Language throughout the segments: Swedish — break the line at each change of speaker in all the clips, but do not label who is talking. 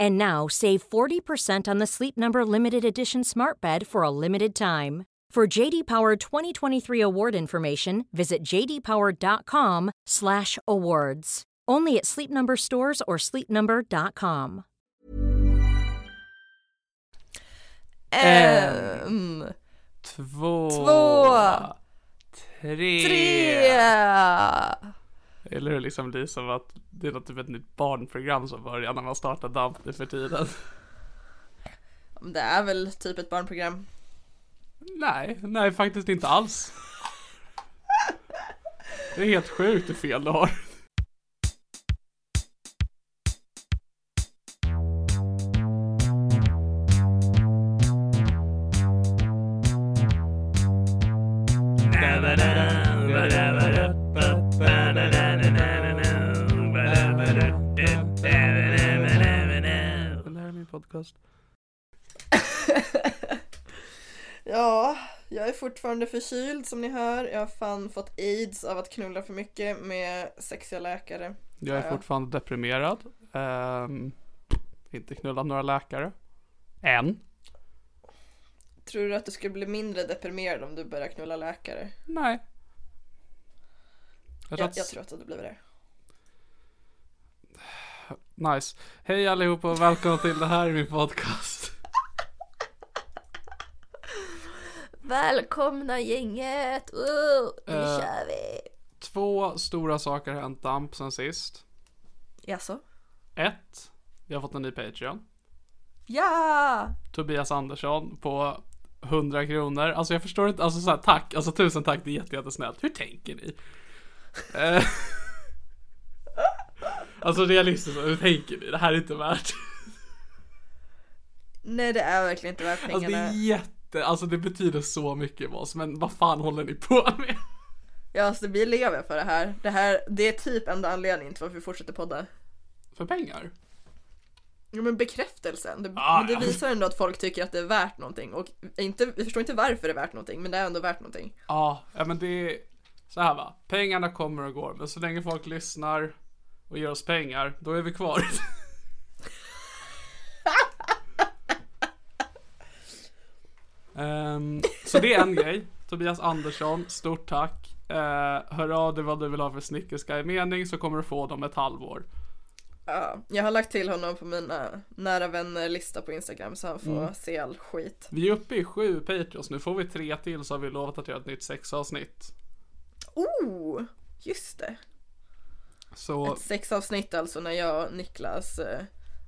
And now save 40% on the Sleep Number limited edition smart bed for a limited time. For JD Power 2023 award information, visit jdpower.com/awards. Only at Sleep Number stores or sleepnumber.com.
En,
Två.
två,
Tre.
tre!
Eller hur liksom det är som att det är något typ ett nytt barnprogram som börjar när man startar DAMP nu för tiden.
Det är väl typ ett barnprogram.
Nej, nej faktiskt inte alls. Det är helt sjukt hur fel du har. Det här är min podcast.
Ja, jag är fortfarande förkyld som ni hör. Jag har fan fått aids av att knulla för mycket med sexiga läkare.
Jag
Ja.
är fortfarande deprimerad. Ehm, inte knullat några läkare. Än.
Tror du att du skulle bli mindre deprimerad om du börjar knulla läkare?
Nej. Jag tror
Jag, jag
att...
tror att du blir det.
Nice. Hej allihopa och välkomna till det här är min podcast.
Välkomna gänget! Woo! Nu
Eh.
kör vi!
Två stora saker har hänt DAMP sen sist.
Jaså?
Ett. Jag har fått en ny Patreon.
Ja!
Tobias Andersson på 100 kronor. Alltså jag förstår inte, alltså så här, tack, alltså tusen tack, det är jätte, jättesnällt. Hur tänker ni? Eh. alltså realistiskt, hur tänker ni? Det här är inte värt.
Nej det är verkligen inte värt
Alltså det
pengarna.
är jätte, alltså det betyder så mycket med oss, men vad fan håller ni på med?
Ja alltså vi lever för det här. Det här, det är typ enda anledningen till varför vi fortsätter podda.
För pengar?
Jo men bekräftelsen, det,
Ah,
men det
ja.
visar ändå att folk tycker att det är värt någonting och inte, vi förstår inte varför det är värt någonting men det är ändå värt någonting.
Ja, ja men det är så här va. Pengarna kommer och går, men så länge folk lyssnar och ger oss pengar, då är vi kvar. Ehm, så det är en grej. Tobias Andersson, stort tack. Eh, hör av dig vad du vill ha för snickerska i mening så kommer du få dem ett halvår.
Ja, jag har lagt till honom på mina nära vänner lista på Instagram så han
Mm.
får se all skit.
Vi är uppe i sju Patreons, nu får vi tre till så har vi lovat att göra ett nytt sexavsnitt.
Oh! Just det!
Så
Ett sexavsnitt alltså när jag och Niklas eh,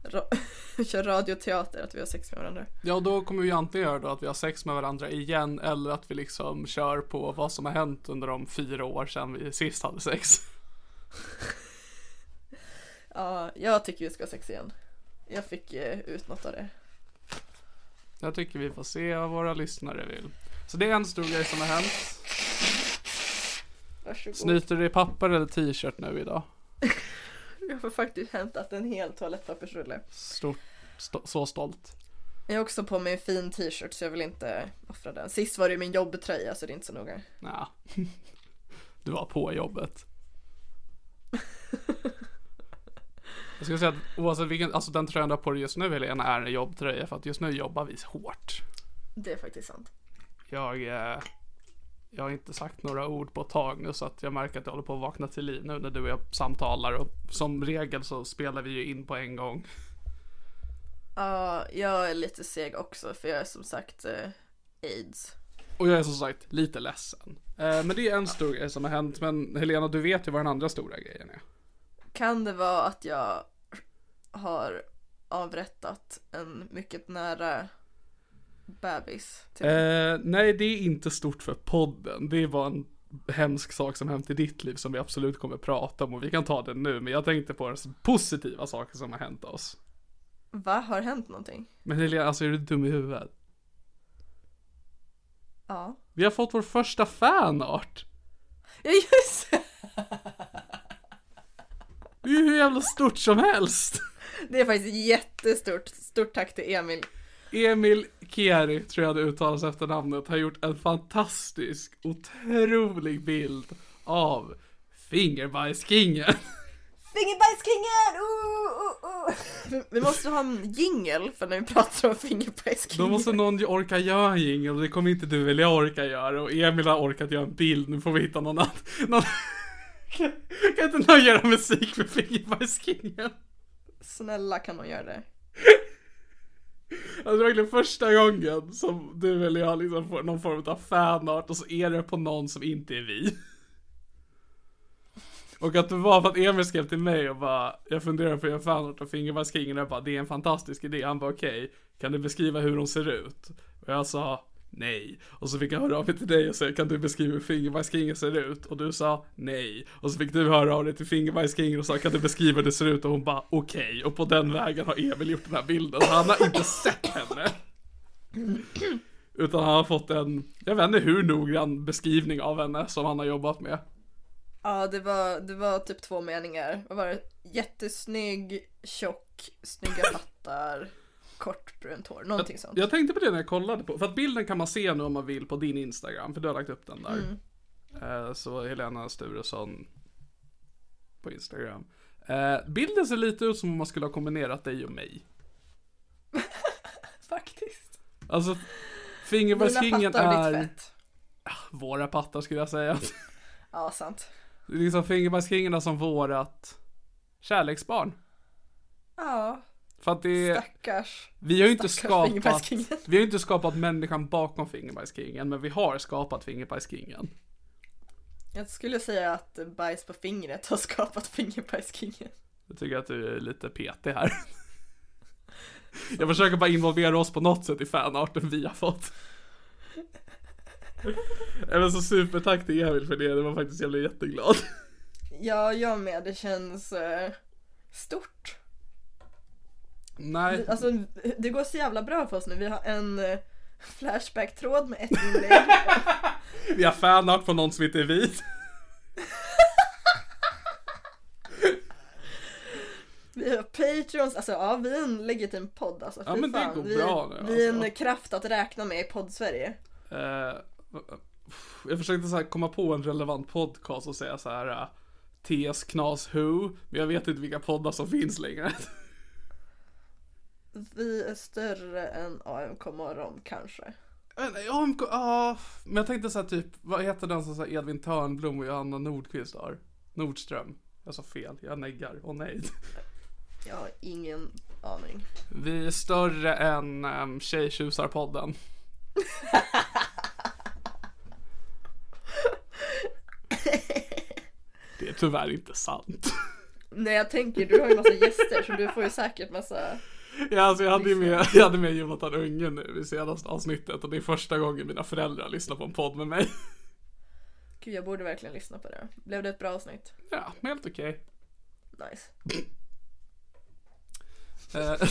ra- kör radioteater att vi har sex med varandra.
Ja, och då kommer vi ju antingen göra då att vi har sex med varandra igen eller att vi liksom kör på vad som har hänt under de fyra år sedan vi sist hade sex.
Ja, jag tycker vi ska ha sex igen. Jag fick eh, ut något av det.
Jag tycker vi får se vad våra lyssnare vill. Så det är en stor grej som har hänt.
Varsågod.
Snyter du i papper eller t-shirt nu idag?
Jag har faktiskt hämtat en hel toalettpappersrulle.
Stort, st- så stolt.
Jag har också på mig en fin t-shirt så jag vill inte offra den. Sist var det ju min jobbtröja så det är inte så noga.
Nja. Du var på jobbet. Jag skulle säga att oavsett vilken, alltså den tröjan du har på dig just nu Helena är en jobbtröja för att just nu jobbar vi hårt.
Det är faktiskt sant.
Jag, eh, jag har inte sagt några ord på ett tag nu så att jag märker att jag håller på att vakna till liv nu när du och jag samtalar och som regel så spelar vi ju in på en gång.
Ja, jag är lite seg också för jag är som sagt eh, aids.
Och jag är som sagt lite ledsen. Eh, men det är en stor grej som har hänt men Helena du vet ju vad den andra stora grejen är.
Kan det vara att jag har avrättat en mycket nära bebis? Typ?
Eh, nej, det är inte stort för podden. Det var en hemsk sak som hänt i ditt liv som vi absolut kommer prata om och vi kan ta den nu. Men jag tänkte på de positiva saker som har hänt oss.
Va? Har hänt någonting?
Men Helena, alltså är du dum i huvudet?
Ja.
Vi har fått vår första fanart!
Ja just det!
Det är ju hur jävla stort som helst!
Det är faktiskt jättestort. Stort tack till Emil.
Emil Kieri, tror jag det uttalas efter namnet, har gjort en fantastisk, otrolig bild av fingerbajskingen.
Fingerbajskingen! Oh, oh, oh. Vi- Vi måste ha en jingle för när vi pratar om
Då
fingerbajskingen.
måste någon ju orka göra en jingle och det kommer inte du eller jag orka göra och Emil har orkat göra en bild, nu får vi hitta någon annan. Någon... Kan- Kan inte någon göra musik för Fingerbajskingen?
Snälla kan någon göra det?
Alltså det är verkligen första gången som du eller jag liksom får någon form av fanart och så är det på någon som inte är vi. Och att det var för att Emil skrev till mig och bara, jag funderar på att göra fanart av Fingerbajskingen och jag bara, det är en fantastisk idé. Han bara okej, kan du beskriva hur hon ser ut? Och jag sa nej. Och så fick jag höra av mig till dig och säga, kan du beskriva hur Fingerbajskingen ser ut? Och du sa nej. Och så fick du höra av dig till Fingerbajskingen och sa, kan du beskriva hur det ser ut? Och hon bara okej. Och på den vägen har Emil gjort den här bilden. Han har inte sett henne. Utan han har fått en, jag vet inte hur noggrann beskrivning av henne som han har jobbat med.
Ja, det var, det var typ två meningar. Vad var det? Jättesnygg, tjock, snygga pattar, kort brunt hår. Någonting sånt.
Jag tänkte på det när jag kollade på, för att bilden kan man se nu om man vill på din Instagram, för du har lagt upp den där.
Mm.
Eh, Så Helena Sturesson på Instagram. Eh, Bilden ser lite ut som om man skulle ha kombinerat dig och mig.
Faktiskt.
Alltså,
Mina
fingerbajskingen
pattar och
är
ditt fett.
våra pattar skulle jag säga.
Ja, sant.
Det är liksom fingerbajskingen är som vårat kärleksbarn.
Ja,
För att det är,
stackars.
vi har ju inte
stackars
skapat,
fingerbajskingen.
vi har ju inte skapat människan bakom fingerbajskingen, men vi har skapat fingerbajskingen.
Jag skulle säga att bajs på fingret har skapat fingerbajskingen.
Jag tycker att du är lite petig här. Jag försöker bara involvera oss på något sätt i fanarten vi har fått. Även så supertack till Emil för det, det var faktiskt, jag blev jätteglad.
Ja, jag med. Det känns eh, stort.
Nej,
Alltså det går så jävla bra för oss nu. Vi har en eh, Flashback-tråd med ett inlägg.
vi har fanart från någon som inte är vi.
Vi har Patreons. Alltså ja, vi är en legitim podd alltså.
Ja,
Fy
men det
fan.
går
vi,
bra nu,
Vi är en
alltså.
kraft att räkna med i podd-Sverige.
Eh, jag försökte så här komma på en relevant podcast och säga så här eh, TS Knas Who, men jag vet inte vilka poddar som finns längre.
Vi är större än AMK morgon kanske.
Men, ja, men- ja, men jag tänkte så här typ, vad heter den som så här Edvin Törnblom och Johanna Nordqvist har? Nordström. Jag sa fel, jag neggar. Åh nej.
Jag har ingen aning.
Vi är större än um, Tjejtjusarpodden. Det är tyvärr inte sant.
Nej jag tänker, du har ju massa gäster så du får ju säkert massa...
Ja, alltså jag hade ju med, jag hade med Jonathan Unge nu i senaste avsnittet och det är första gången mina föräldrar lyssnar på en podd med mig.
Gud jag borde verkligen lyssna på det. Blev det ett bra avsnitt?
Ja, men helt okej.
Nice.
Eh,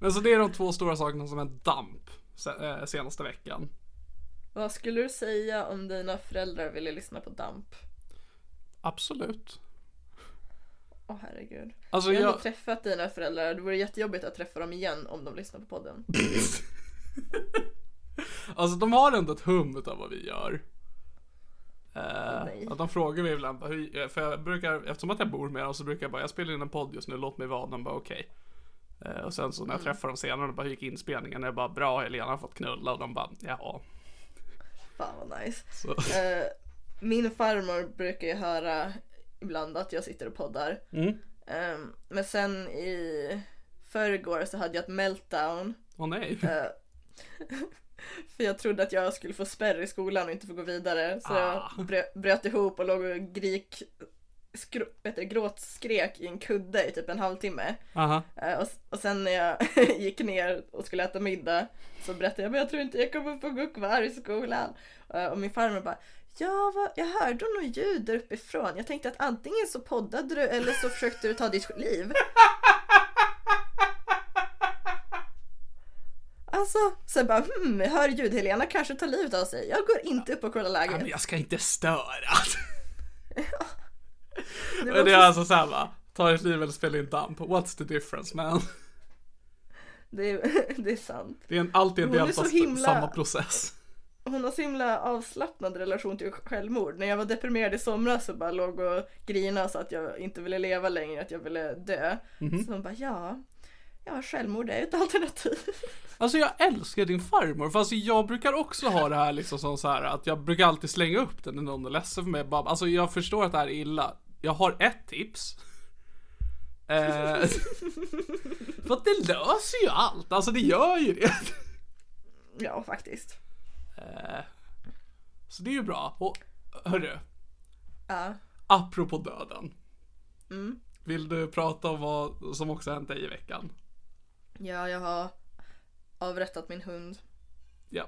Men så det är de två stora sakerna som är damp se- eh, senaste veckan.
Vad skulle du säga om dina föräldrar ville lyssna på DAMP?
Absolut.
Åh herregud.
Alltså
Jag har ändå
jag...
träffat dina föräldrar, det vore jättejobbigt att träffa dem igen om de lyssnar på podden.
Alltså de har ändå ett hum utav vad vi gör. Eh,
Nej.
att de frågar mig ibland, bara, hur, eh, för jag brukar, eftersom att jag bor med dem så brukar jag bara, jag spelar in en podd just nu, låt mig vara. De bara okej. Eh, och sen så när jag
Mm.
träffar dem senare, de bara, hur gick inspelningen? Jag bara, bra Helena har fått knulla. Och de bara, jaha.
Fan vad nice.
Så,
Eh, min farmor brukar ju höra ibland att jag sitter och poddar.
mm.
Eh, men sen i förrgår så hade jag ett meltdown.
Åh nej.
Eh, för jag trodde att jag skulle få spärr i skolan och inte få gå vidare. Så
Ah.
jag brö- bröt ihop och låg och grik, skro, vet du, gråtskrek i en kudde i typ en halvtimme.
Aha.
Eh, Och, och sen när jag gick ner och skulle äta middag så berättade jag men jag tror inte jag kommer få gå kvar i skolan. Eh, Och min farmor bara Ja, vad, jag hörde nog ljud där uppifrån. Jag tänkte att antingen så poddade du eller så försökte du ta ditt liv. Alltså, sen bara hmm, jag hör ljud. Helena kanske tar livet av sig. Jag går inte upp och kollar
Ja, men
läget.
jag ska inte störa.
Det var
det är
så-
alltså såhär va, ta ditt liv eller spela in damp. What's the difference man?
det, är- det är sant.
Det är en, alltid en
Hon är
del av
så
sp-
himla-
samma process.
hon har så himla avslappnad relation till självmord. När jag var deprimerad i somras så bara låg och grinade så att jag inte ville leva längre, att jag ville dö. Så hon bara ja, ja självmord är ett alternativ.
Alltså jag älskar din farmor, för alltså jag brukar också ha det här liksom som så här att jag brukar alltid slänga upp den när någon är ledsen för mig. Bara, alltså jag förstår att det här är illa. Jag har ett tips. Eh, för att det löser ju allt, alltså det gör ju det.
ja faktiskt.
Eh, så det är ju bra. Och hörru,
Ja. Mm.
apropå döden. Vill du prata om vad som också hänt dig i veckan?
ja, jag har avrättat min hund.
Ja.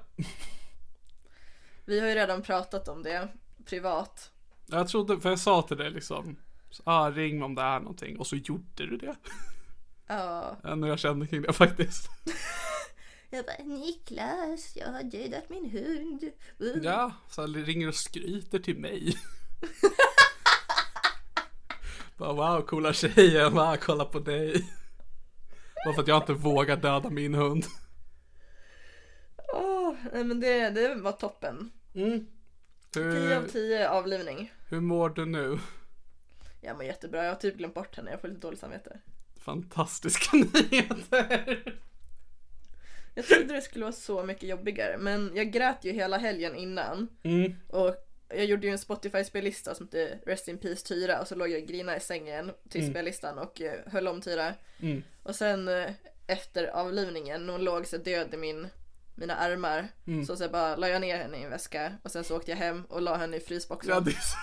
Vi har ju redan pratat om det privat.
Jag trodde, för jag sa till dig liksom, ah, ring mig om det är någonting. Och så gjorde du det.
Ja.
än hur jag kände kring det faktiskt.
Jag bara Niklas, jag har dödat min hund.
Ja, så han ringer och skryter till mig. Bara wow, coola tjejer, wow, kolla på dig. Bara för att jag inte vågar döda min hund.
Åh, nej men det, det var toppen. tio av
Hur,
tio avlivning.
hur mår du nu?
Jag mår jättebra, jag har typ glömt bort henne, jag får lite dåligt samvete.
Fantastiska nyheter.
Jag trodde det skulle vara så mycket jobbigare men jag grät ju hela helgen innan.
Mm.
Och jag gjorde ju en Spotify-spellista som hette Rest in Peace Tyra och så låg jag och grinade i sängen till
Mm.
spellistan och eh, höll om Tyra. Och sen eh, efter avlivningen, när hon låg så död i min, mina armar
Mm.
så, så bara la jag ner henne i en väska och sen så åkte jag hem och la henne i frysboxen.
Ja, det är så,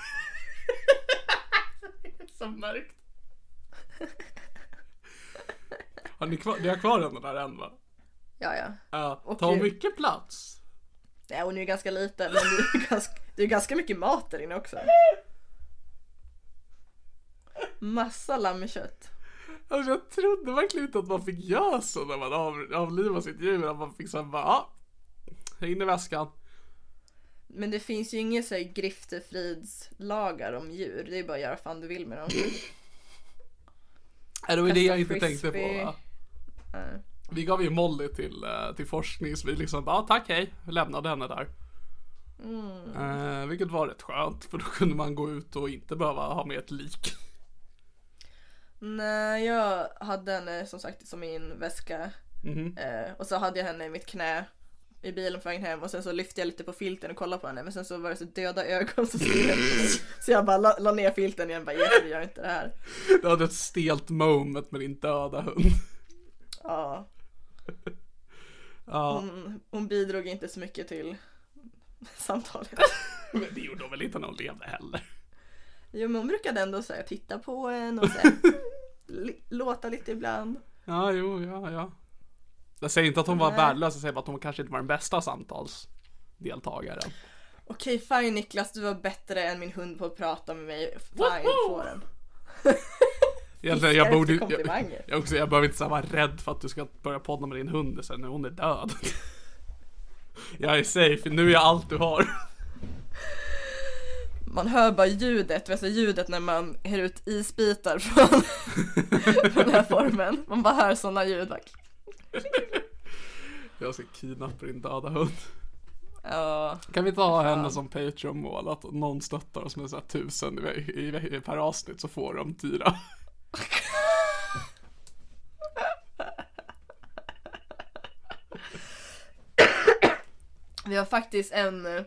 det är så mörkt. Har ni kvar, ni har kvar den där än va?
ja, ja.
Ja,
Och
tar
ju-
mycket plats.
Nej, hon är ju ganska liten men det är ju ganska, det är ganska mycket mat där inne också. Massa lammkött.
Alltså jag trodde verkligen inte att man fick göra så när man av, avlivar sitt djur. Att man fick såhär bara, ja, in i väskan.
Men det finns ju inga så här griftefridslagar om djur. Det är bara att göra fan du vill med dem.
Äh, Det var ju det jag
Kasta
inte tänkte på
frisbee.
va?
Nej.
Vi gav ju Molly till, eh, till forskning så vi liksom bara, ja tack hej, vi lämnade henne där.
Mm.
Eh, vilket var rätt skönt för då kunde man gå ut och inte behöva ha med ett lik.
Nej, jag hade henne som sagt som i en väska.
Mhm.
Eh, och så hade jag henne i mitt knä i bilen på vägen hem och sen så lyfte jag lite på filten och kollade på henne men sen så var det så döda ögon som stirrade på mig. Så jag bara la, la ner filten igen och bara yes, vi gör inte det här.
Du hade ett stelt moment med din döda hund.
Ja.
Ja,
Hon, hon bidrog inte så mycket till samtalet.
men det gjorde hon väl inte när hon levde heller.
Jo men hon brukade ändå så här, titta på en och så här, li- låta lite ibland.
Ja, jo, ja, ja. Jag säger inte att hon var
Nej.
värdelös, jag säger bara att hon kanske inte var den bästa samtalsdeltagaren.
Okej fine Niklas, du var bättre än min hund på att prata med mig. Fine,
Woho!
få den.
Egentligen, alltså, jag
Fiskar
borde
efter
jag,
komplimanger.
jag, också, jag behöver inte så här vara rädd för att du ska börja podda med din hund sen när hon är död. Jag är safe, nu är jag allt du har.
man hör bara ljudet, alltså ljudet när man hör ut isbitar från, från den här formen. Man bara hör sådana ljud. Bara,
Jag ska kidnappa din döda hund.
ja,
Kan vi inte ha henne som Patreon-mål? Att någon stöttar oss med så här tusen i, i, i, per avsnitt så får de dyra.
vi har faktiskt en eh,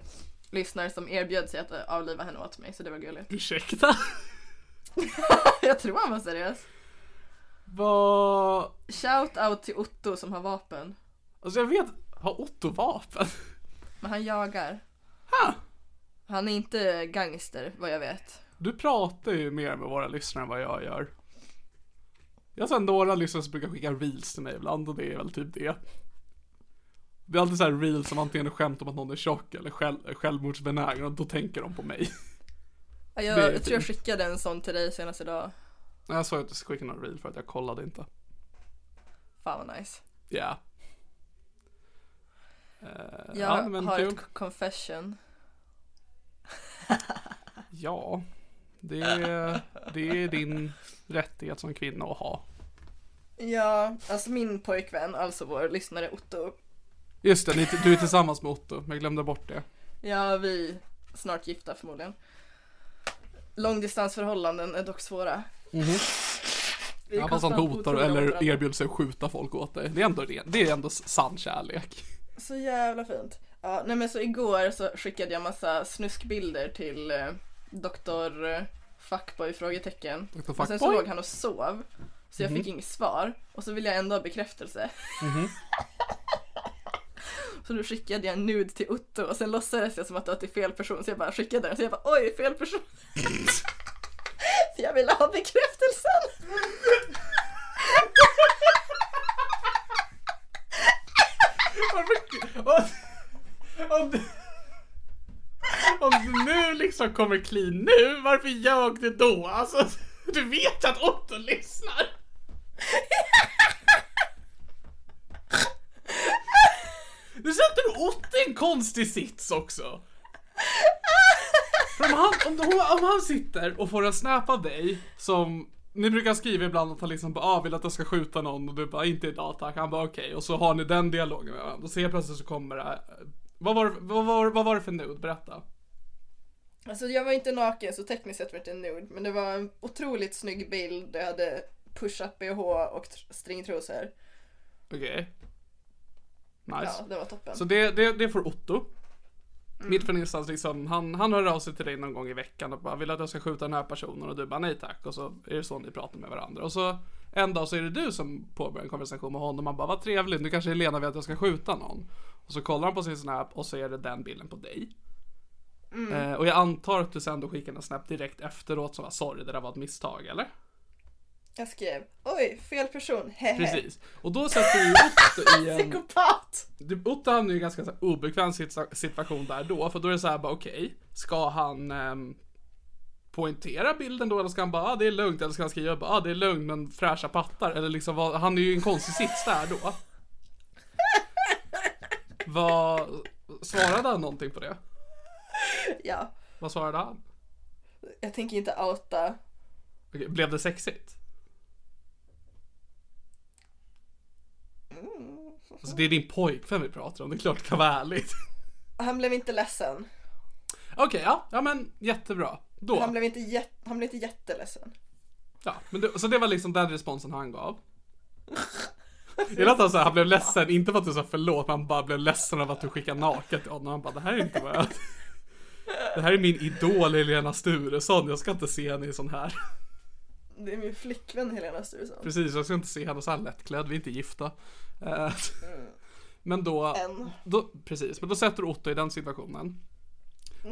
lyssnare som erbjöd sig att eh, avliva henne åt mig, så det var gulligt.
Ursäkta?
Jag tror han var seriös.
Vad...
Shout out till Otto som har vapen.
Alltså jag vet, har Otto vapen?
Men han jagar.
Ha!
Han är inte gangster vad jag vet.
Du pratar ju mer med våra lyssnare än vad jag gör. Jag har sen några lyssnare som brukar skicka reels till mig ibland och det är väl typ det. Det är alltid så här reels som antingen är skämt om att någon är tjock eller själv, självmordsbenägen och då tänker de på mig.
Ja,
Det är
Jag, jag tror jag
fint.
skickade en sån till dig senast idag.
Nej, Jag sa ju att du skulle skicka någon reel för att jag kollade inte.
Fan vad nice.
Ja. Yeah. Eh,
Jag
ja, men
har
kul.
ett confession.
Ja. Det är, det är din rättighet som kvinna att ha.
Ja, alltså min pojkvän, alltså vår lyssnare Otto.
Just det, ni, du är tillsammans med Otto. men Jag glömde bort det.
Ja, vi är snart gifta förmodligen. Långdistansförhållanden är dock svåra.
Mhm.
Vi är
Ja, fast han
konstant
hotar
otrogna mot
eller
varandra.
erbjuder sig att skjuta folk åt dig. Det är ändå, ren- det är ändå sann kärlek.
Så jävla fint. Ja, nej men så igår så skickade jag massa snuskbilder till eh, doktor eh, fuckboy? Frågetecken.
Dr.
Och sen så
Fuckboy?
låg han och sov. Så jag fick inget svar. Och så ville jag ändå ha bekräftelse. så då skickade jag en nude till Otto och sen låtsades jag som att det var till fel person. Så jag bara skickade den. Så jag bara oj, fel person. För jag ville ha bekräftelsen.
Om du, om du nu liksom kommer clean nu, varför ljög du då? Alltså, du vet ju att Otto lyssnar. Nu sätter du Otto i en konstig sits också. För om, han, om, du- om han sitter och får en snap av dig som ni brukar skriva ibland att han liksom bara ah, vill att jag ska skjuta någon och du bara inte idag tack. Han bara okej och så har ni den dialogen med varandra och så helt plötsligt så kommer det här. Vad var, det- vad var, vad var det för nude? Berätta.
Alltså jag var inte naken så tekniskt sett var det en nude. Men det var en otroligt snygg bild. där Jag hade push-up bh och tr- stringtrosor.
Okej. Nice.
Ja, det var toppen.
Alltså, Så det, det, det får Otto. Mitt på någonstans liksom, han, han hör av sig till dig någon gång i veckan och bara vill att jag ska skjuta den här personen och du bara nej tack och så är det så ni pratar med varandra och så en dag så är det du som påbörjar en konversation med honom och man bara vad trevligt nu kanske Helena vill att jag ska skjuta någon och så kollar han på sin snap och så är det den bilden på dig. Eh, och jag antar att du sen då skickar en snap direkt efteråt som var sorry det där var ett misstag eller?
Jag skrev oj, fel person. Hehe.
Precis. Och då sätter du Otto i en...
Psykopat!
Du- Otto hamnar ju i en ganska så här obekväm sitsa- situation där då, för då är det så här bara okej, ska han ehm, poängtera bilden då eller ska han bara ah, det är lugnt eller ska han skriva bara ah, det är lugnt men fräscha pattar eller liksom vad, han är ju i en konstig sits där då. Vad, svarade han någonting på det?
Ja,
Vad svarade han?
jag tänker inte outa.
Okej, blev det sexigt? Alltså det är din pojkvän vi pratar om, det är klart det kan vara ärligt.
Han blev inte ledsen.
Okej, ja, ja men jättebra. Då.
Han blev inte, jät- han blev inte jätteledsen.
Ja, men det, så det var liksom den responsen han gav. Gillar att han, så här, han blev ledsen, inte för att du sa förlåt, men han bara blev ledsen av att du skickade naket till honom. Han bara, det här är inte vad jag... Det här är min idol Helena Sturesson, jag ska inte se henne i sån här.
Det är min flickvän Helena Sturesson.
Precis, jag ska inte se henne så här lättklädd, vi är inte gifta. Eh, Men då,
Än.
då, precis, men då sätter du Otto i den situationen.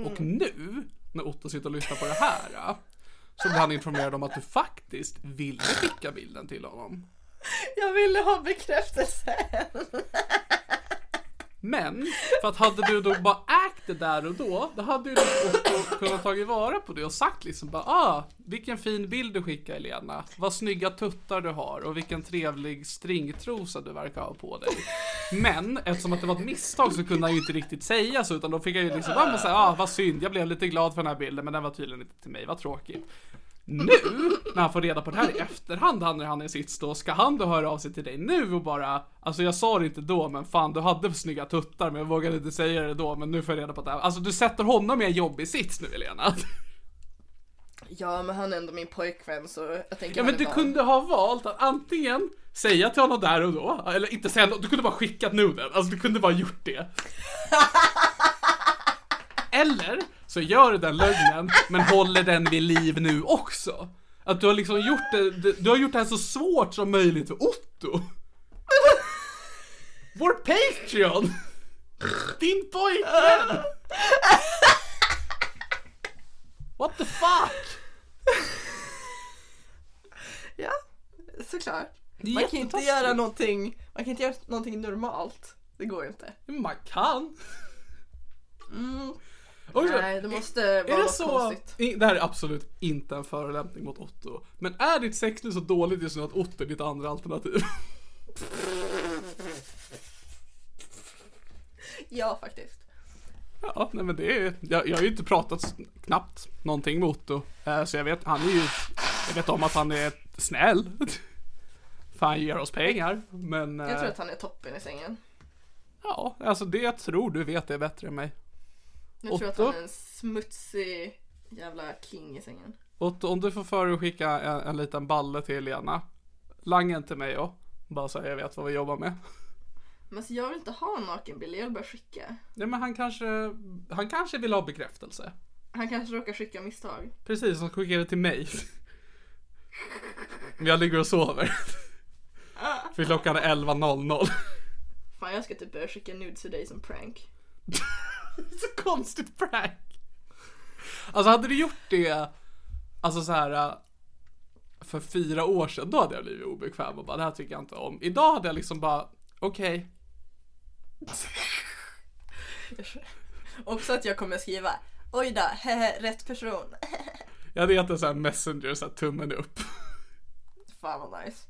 Och nu, när Otto sitter och lyssnar på det här, ja, så blir han informerad om att du faktiskt vill skicka bilden till honom.
Jag ville ha bekräftelse.
Men, för att hade du då bara ägt det där och då, då hade du liksom och- och kunnat tagit vara på det och sagt liksom bara ah, vilken fin bild du skickar Elena, vad snygga tuttar du har och vilken trevlig stringtrosa du verkar ha på dig. Men eftersom att det var ett misstag så kunde han ju inte riktigt säga så utan då fick jag ju liksom, ah, men så här, ah, vad synd, jag blev lite glad för den här bilden men den var tydligen inte till mig, vad tråkigt. Nu, när han får reda på det här i efterhand, han när han är sits då, ska han då höra av sig till dig nu och bara Alltså jag sa det inte då, men fan du hade snygga tuttar men jag vågade inte säga det då, men nu får jag reda på det här. Alltså du sätter honom i en jobbig sits nu Elena.
Ja men han är ändå min pojkvän så jag tänker
Ja
han
men
är
du
van.
kunde ha valt att antingen säga till honom där och då, eller inte säga något, du kunde bara skickat nuden. Alltså du kunde bara gjort det. Eller så gör du den lögnen, men håller den vid liv nu också. Att du har liksom gjort det, du- du har gjort det här så svårt som möjligt för Otto. Vår Patreon! Din pojkvän! What the fuck?
Ja, såklart.
Det är
Man kan ju inte
jättetaskigt.
göra någonting, man kan inte göra någonting normalt. Det går ju inte.
Man kan.
Mm.
Och så-
Nej, det måste vara
Är det
något
så?
konstigt.
I- Det här är absolut inte en förolämpning mot Otto. Men är ditt sexliv så dåligt just nu att Otto är ditt andra alternativ?
Ja faktiskt.
Ja, nej men det är... Jag, jag har ju inte pratat s- knappt någonting med Otto. Eh, Så jag vet, han är ju... Jag vet om att han är snäll. För han ger oss pengar. Men...
Jag tror
eh,
att han är toppen i sängen.
Ja, alltså det jag tror du vet är bättre än mig.
Jag tror att
Otto?
han är en smutsig jävla king i sängen.
Otto, om du får för dig att skicka en, en liten balle till Helena. Langen till mig då. Bara så jag vet vad vi jobbar med.
Men alltså, jag vill inte ha nakenbilder, jag vill bara skicka.
Nej men han kanske, han kanske vill ha bekräftelse.
Han kanske råkar skicka misstag.
Precis, han skickade till mig. Men Jag ligger och sover. För klockan är 11.00.
Fan jag ska typ börja skicka nudes till dig som prank.
Så konstigt prank. Alltså hade du gjort det, alltså så här äh, för fyra år sedan, då hade jag blivit obekväm och bara det här tycker jag inte om. Idag hade jag liksom bara, okej.
Också att jag kommer skriva Oj då, hehe, rätt person.
Jag hade gett en sån här messenger, så här tummen upp.
Fan vad nice.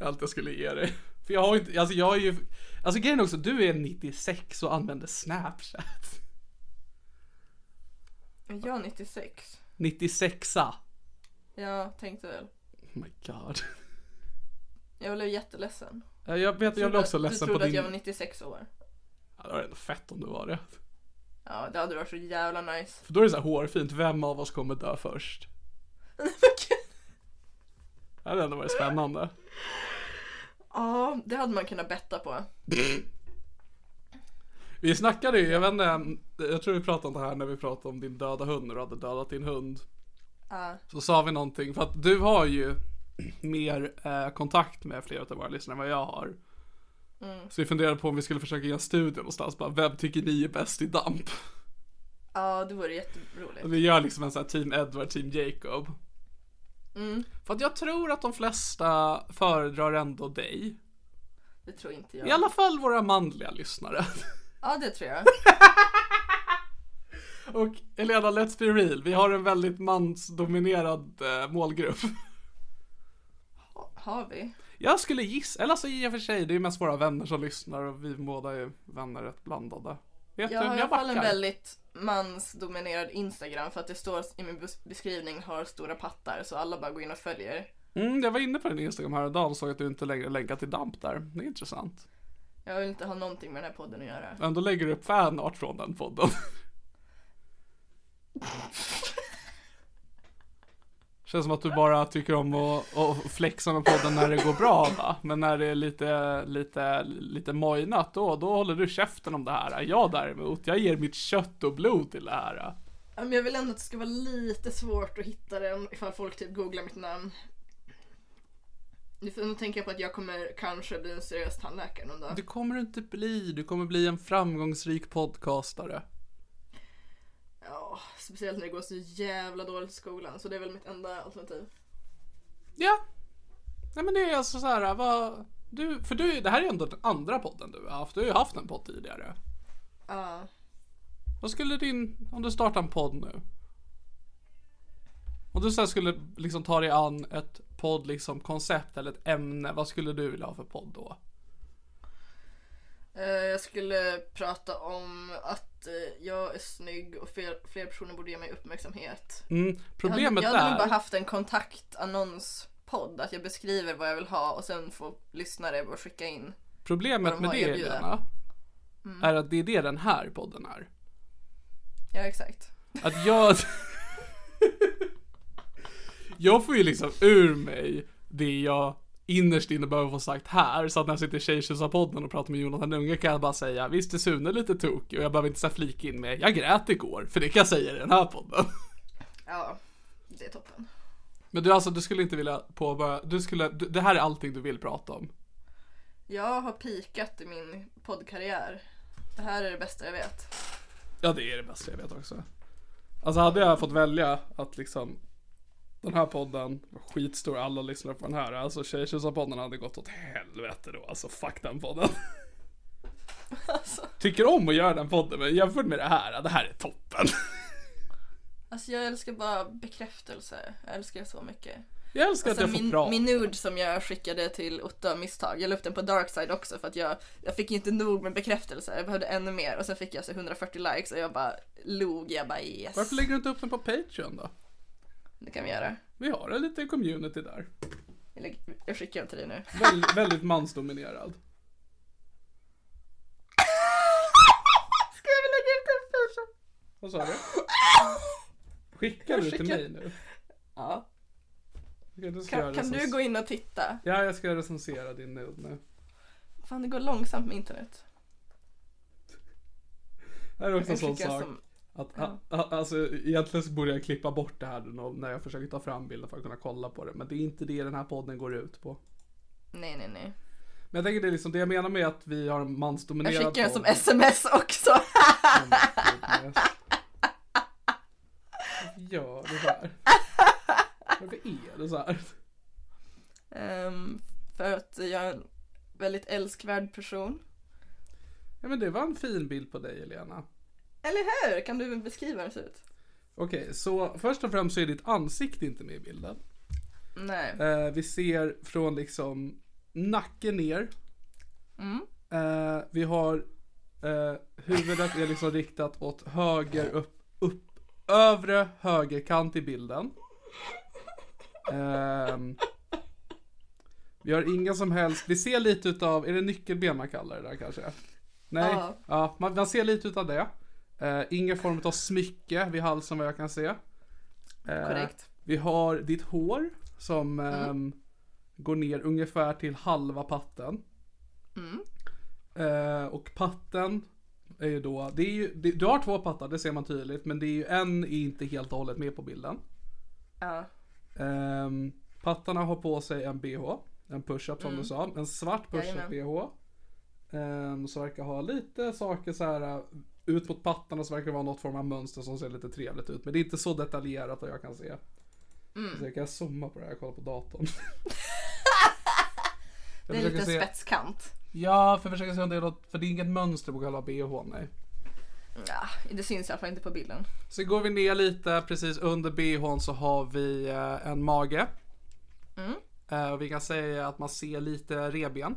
Allt jag skulle ge dig. För jag har inte, alltså jag är ju, alltså grejen är också, du är 96 och använder Snapchat.
Jag är 96.
96a.
Jag tänkte väl.
Oh my god.
Jag blev jätteledsen.
Ja, Jag vet, jag blev också ledsen
du
på
trodde
din...
att jag var 96 år.
Ja, det var ändå fett om det var det.
Ja, det hade varit så jävla nice.
För då är det så här hårfint, vem av oss kommer dö först? Det hade ändå varit spännande.
Ja, det hade man kunnat betta på.
Vi snackade ju, jag vet inte, jag tror vi pratade om det här när vi pratade om din döda hund, när du hade dödat din hund.
Ja.
Så sa vi någonting, för att du har ju mer eh, kontakt med flera av våra lyssnare än vad jag har. Så vi funderade på om vi skulle försöka göra en studie någonstans, bara vem tycker ni är bäst i damp?
Ja, det vore jätteroligt.
Vi gör liksom en sån här team Edward, team Jacob. För att jag tror att de flesta föredrar ändå dig.
Det tror inte
I
jag.
alla fall våra manliga lyssnare.
Ja, det tror jag.
Och Elena, let's be real. Vi har en väldigt mansdominerad eh, målgrupp.
Har vi?
Jag skulle gissa, eller alltså i och för sig, det är ju mest våra vänner som lyssnar och vi båda är vänner rätt blandade. Vet
Jag
du,
har i alla fall en
backar.
väldigt mansdominerad Instagram för att det står i min bes- beskrivning har stora pattar så alla bara går in och följer.
Mm, jag var inne på din Instagram häromdagen och såg att du inte längre länkar till Damp där. Det är intressant.
Jag vill inte ha någonting med den här podden att göra.
Ändå lägger du upp fanart från den podden. Känns som att du bara tycker om att, att flexa med podden när det går bra va? Men när det är lite, lite, lite mojnat då, då håller du käften om det här. Jag däremot, jag ger mitt kött och blod till det här.
Ja, Men jag vill ändå att det ska vara lite svårt att hitta den ifall folk typ googlar mitt namn. Nu får- nu tänker jag på att jag kommer kanske bli en seriös tandläkare någon dag.
Du kommer inte bli, du kommer bli en framgångsrik podcastare.
Ja, speciellt när det går så jävla dåligt i skolan så det är väl mitt enda alternativ.
Ja. Nej men det är alltså så här, vad... Du, för du, det här är ändå den andra podden du har haft. Du har ju haft en podd tidigare.
Ja.
Vad skulle din, om du startar en podd nu? Om du sen skulle liksom ta dig an ett podd liksom koncept eller ett ämne, vad skulle du vilja ha för podd då?
Eh, Jag skulle prata om att eh, jag är snygg och fler, fler personer borde ge mig uppmärksamhet.
Mm, problemet
jag hade nog bara
där,
haft en kontaktannonspodd, att jag beskriver vad jag vill ha och sen får lyssnare bara skicka in.
problemet
vad
med
de har Mm.
det
erbjuda.
Lena, är att det är det den här podden är.
Ja exakt.
Att jag... jag får ju liksom ur mig det jag innerst inne behöver få sagt här. Så att när jag sitter i Tjejtjusarpodden och pratar med Jonathan Unge kan jag bara säga visst är Sune lite tokig och jag behöver inte så här flika in med jag grät igår. För det kan jag säga i den här podden.
Ja, det är toppen.
Men du alltså, du skulle inte vilja påbörja, du skulle, du, det här är allting du vill prata om.
Jag har pikat i min poddkarriär. Det här är det bästa jag vet.
Ja, det är det bästa jag vet också. Alltså hade jag fått välja att liksom den här podden, skitstor, alla lyssnar på den här. Alltså Tjejtjusarpodden hade gått åt helvete då. Alltså fuck den podden.
Alltså,
Tycker om att göra den podden, men jämfört med det här, det här är toppen.
alltså jag älskar bara bekräftelse. Jag älskar det så mycket.
Jag älskar
Sen
att jag får
Alltså, min,
prata.
min nude som jag skickade till Otto av misstag. Jag la upp den på Darkside också för att jag, jag fick inte nog med bekräftelse. Jag behövde ännu mer och sen fick jag så 140 likes och jag bara log. Jag bara yes.
Varför lägger du inte upp den på Patreon då?
Det kan vi göra.
Vi har en liten community där.
Jag, lägger, jag skickar den till dig nu.
Väl, väldigt mansdominerad.
Ska jag väl lägga ut den först?
Vad sa du? Skickar du till
skickar-
mig nu?
Ja.
Okej, då ska
Kan,
jag liksom
kan du
recens-
gå in och titta?
Ja, jag ska recensera din nude nu.
Fan det går långsamt med internet.
Det här är också en
Jag
sån
skickar
sak.
som-
Att, a, a, alltså, egentligen så borde jag klippa bort det här nå- när jag försöker ta fram bilden för att kunna kolla på det. Men det är inte det den här podden går ut på.
Nej nej nej.
Men jag tänker det är liksom det jag menar med att vi har en
Jag
mansdominerad
skickar den som
podd.
sms också.
Varför gör du så här? Varför är du så här?
Ehm, för att jag är en väldigt älskvärd person.
Ja men det var en fin bild på dig Elena.
Eller hur? Kan du beskriva hur den ser ut?
Okej, så först och främst så är ditt ansikte inte med i bilden.
Nej.
Eh, vi ser från liksom nacken ner. Eh, vi har eh, huvudet är liksom riktat åt höger upp, upp övre högerkant i bilden. Ehm, vi har inga som helst, vi ser lite utav, är det nyckelben man kallar det där kanske? Nej,
Ja.
ja, man, man ser lite utav det. Eh, ingen form av smycke vid halsen vad jag kan se. Eh,
Korrekt.
Vi har ditt hår som ehm, går ner ungefär till halva patten. Eh, och patten är ju då, det är ju, det, du har två pattar, det ser man tydligt, men det är ju en är inte helt och hållet med på bilden.
Ja.
Ehm, pattarna har på sig en bh, en push-up
Mm.
som du sa, en svart push-up bh. Um, så verkar ha lite saker så här eh, ut mot pattarna så verkar det vara något form av mönster som ser lite trevligt ut. Men det är inte så detaljerat vad jag kan se.
Mm.
Så jag kan zooma på det här och kolla på datorn.
Det är en liten spetskant.
Ja, för jag försöker se om det är något, för det är inget mönster på själva bh, nej.
Ja, det syns i alla fall inte på bilden.
Så går vi ner lite, precis under bhn så har vi eh, en mage.
Mm.
Eh, och vi kan säga att man ser lite revben.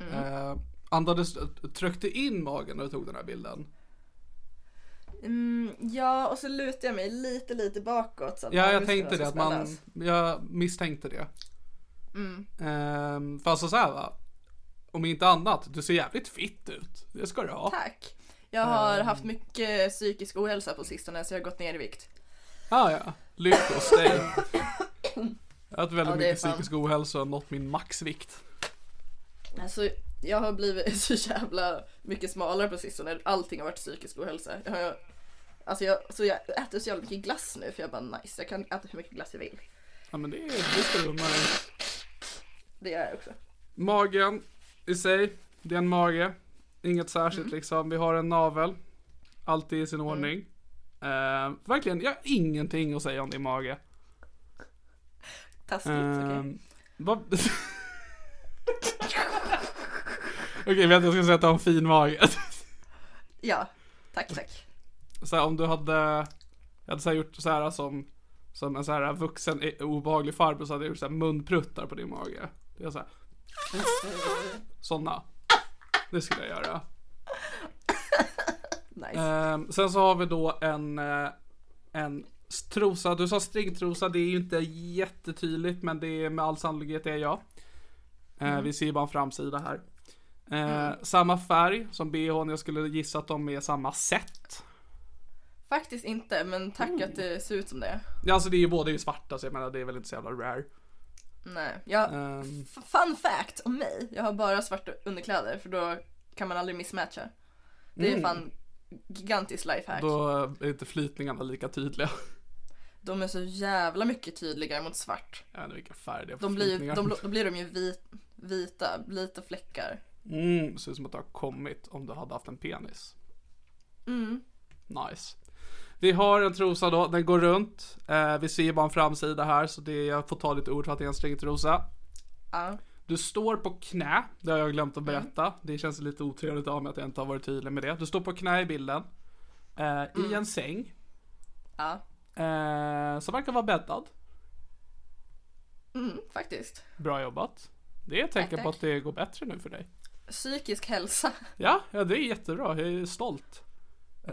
Mm.
Eh, andades, eh, tryckte in magen när du tog den här bilden?
Mm, ja, och så lutar jag mig lite, lite bakåt. Så att
Ja, jag
magmusklerna
tänkte
ska
det. Att man,
spännas.
jag misstänkte det. Mm. Eh, för alltså så här va. Om inte annat, du ser jävligt fitt ut. Det ska du ha.
Tack. Jag har
Ehm.
haft mycket psykisk ohälsa på sistone så jag har gått ner i vikt.
Ah, ja, lyckos dig. Jag har haft väldigt
Ja, det är
mycket
fan.
psykisk ohälsa och nått min maxvikt.
Alltså, jag har blivit så jävla mycket smalare på sistone. Allting har varit psykisk ohälsa. Jag har, alltså jag, så jag äter så jävla mycket glass nu för jag bara nice, jag kan äta hur mycket glass jag vill.
Ja men det, det ska du unna dig.
Det gör jag också.
Magen i sig, det är en mage. Inget särskilt liksom. Vi har en navel. Allt är i sin ordning. Eh, verkligen, jag har ingenting att säga om din mage.
Taskigt,
Eh,
okej.
vad- Okej, vänta jag ska säga att du har en fin mage.
Ja, tack tack.
Så här, om du hade, jag hade så här gjort så här som, som en så här vuxen eh, obehaglig farbror så hade jag gjort så här munpruttar på din mage. Det är så här. Såna. Det skulle jag göra.
Nice.
Ehm, sen så har vi då en, eh, en trosa. Du sa stringtrosa, det är ju inte jättetydligt men det är med all sannolikhet det är jag. Eh,
Mm.
Vi ser ju bara en framsida här. Eh, Samma färg som bhn, jag skulle gissa att de är samma sätt.
Faktiskt inte, men tack
Mm.
att det ser ut som det.
Ja, Alltså det är ju båda är ju svarta så jag menar det är väl inte så jävla rare.
Nej, jag,
Ehm,
f- fun fact om mig. Jag har bara svarta underkläder för då kan man aldrig missmatcha. Det är fan gigantiskt lifehack.
Mm. då är inte flytningarna lika tydliga.
De är så jävla mycket tydligare mot svart.
Jag vet inte vilken färg det är på
De blir, ju,
flytningar.
de, då blir de ju vit, vita, vita fläckar.
Mm, ser ut som att det har kommit om du hade haft en penis.
Mm.
Nice. Vi har en trosa då, den går runt. Eh, vi ser ju bara en framsida här så det, jag får ta lite ord för att det är en stringtrosa.
Ja.
Du står på knä, det har jag glömt
Mm.
att berätta. Det känns lite otrevligt av mig att jag inte har varit tydlig med det. Du står på knä i bilden. Eh,
Mm.
I en säng.
Ja.
Eh, som verkar vara bäddad.
Mm, faktiskt.
Bra jobbat. Det är ett tecken på
tack.
att det går bättre nu för dig.
Psykisk hälsa.
Ja, ja det är jättebra. Jag är stolt.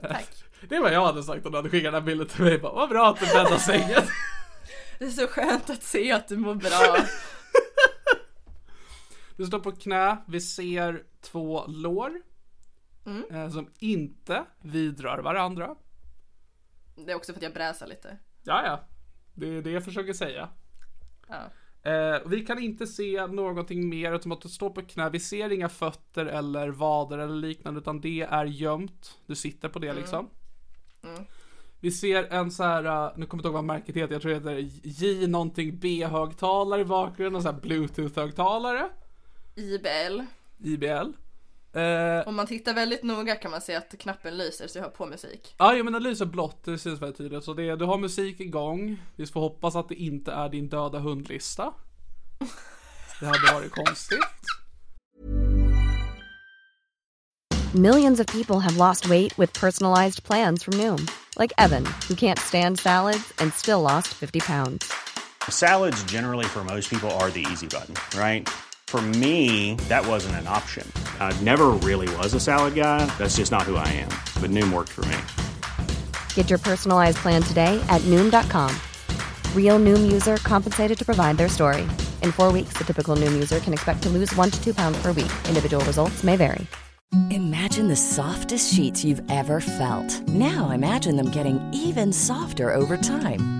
Tack.
Det var jag hade sagt om du hade skickat den här bilden till mig. Bara, vad bra att du bäddar sängen.
Det är så skönt att se att du mår bra.
Du står på knä. Vi ser två lår. Eh, som inte vidrör varandra.
Det är också för att jag bräsar lite.
Ja, ja. Det är det jag försöker säga.
Ja.
Eh, vi kan inte se någonting mer utom att du står på knä. Vi ser inga fötter eller vader eller liknande utan det är gömt. Du sitter på det liksom. Vi ser en så här, eh, nu kommer jag inte ihåg vad märket heter, jag tror det heter J någonting B-högtalare i bakgrunden, och så här bluetooth-högtalare,
IBL.
IBL. Eh,
Om man tittar väldigt noga kan man se att knappen lyser så jag har på musik.
Ja, jag menar lyser blått, det syns väldigt tydligt. Så det, du har musik igång. Vi får hoppas att det inte är din döda hundlista. Det hade varit konstigt.
Millions of people have lost weight with personalized plans from Noom, like Evan, who can't stand salads and still lost 50 pounds.
Salads, generally, for most people, are the easy button, right? For me, that wasn't an option. I never really was a salad guy. That's just not who I am. But Noom worked for me.
Get your personalized plan today at Noom.com. Real Noom user compensated to provide their story. In four weeks, the typical Noom user can expect to lose one to two pounds per week. Individual results may vary.
Imagine the softest sheets you've ever felt. Now imagine them getting even softer over time.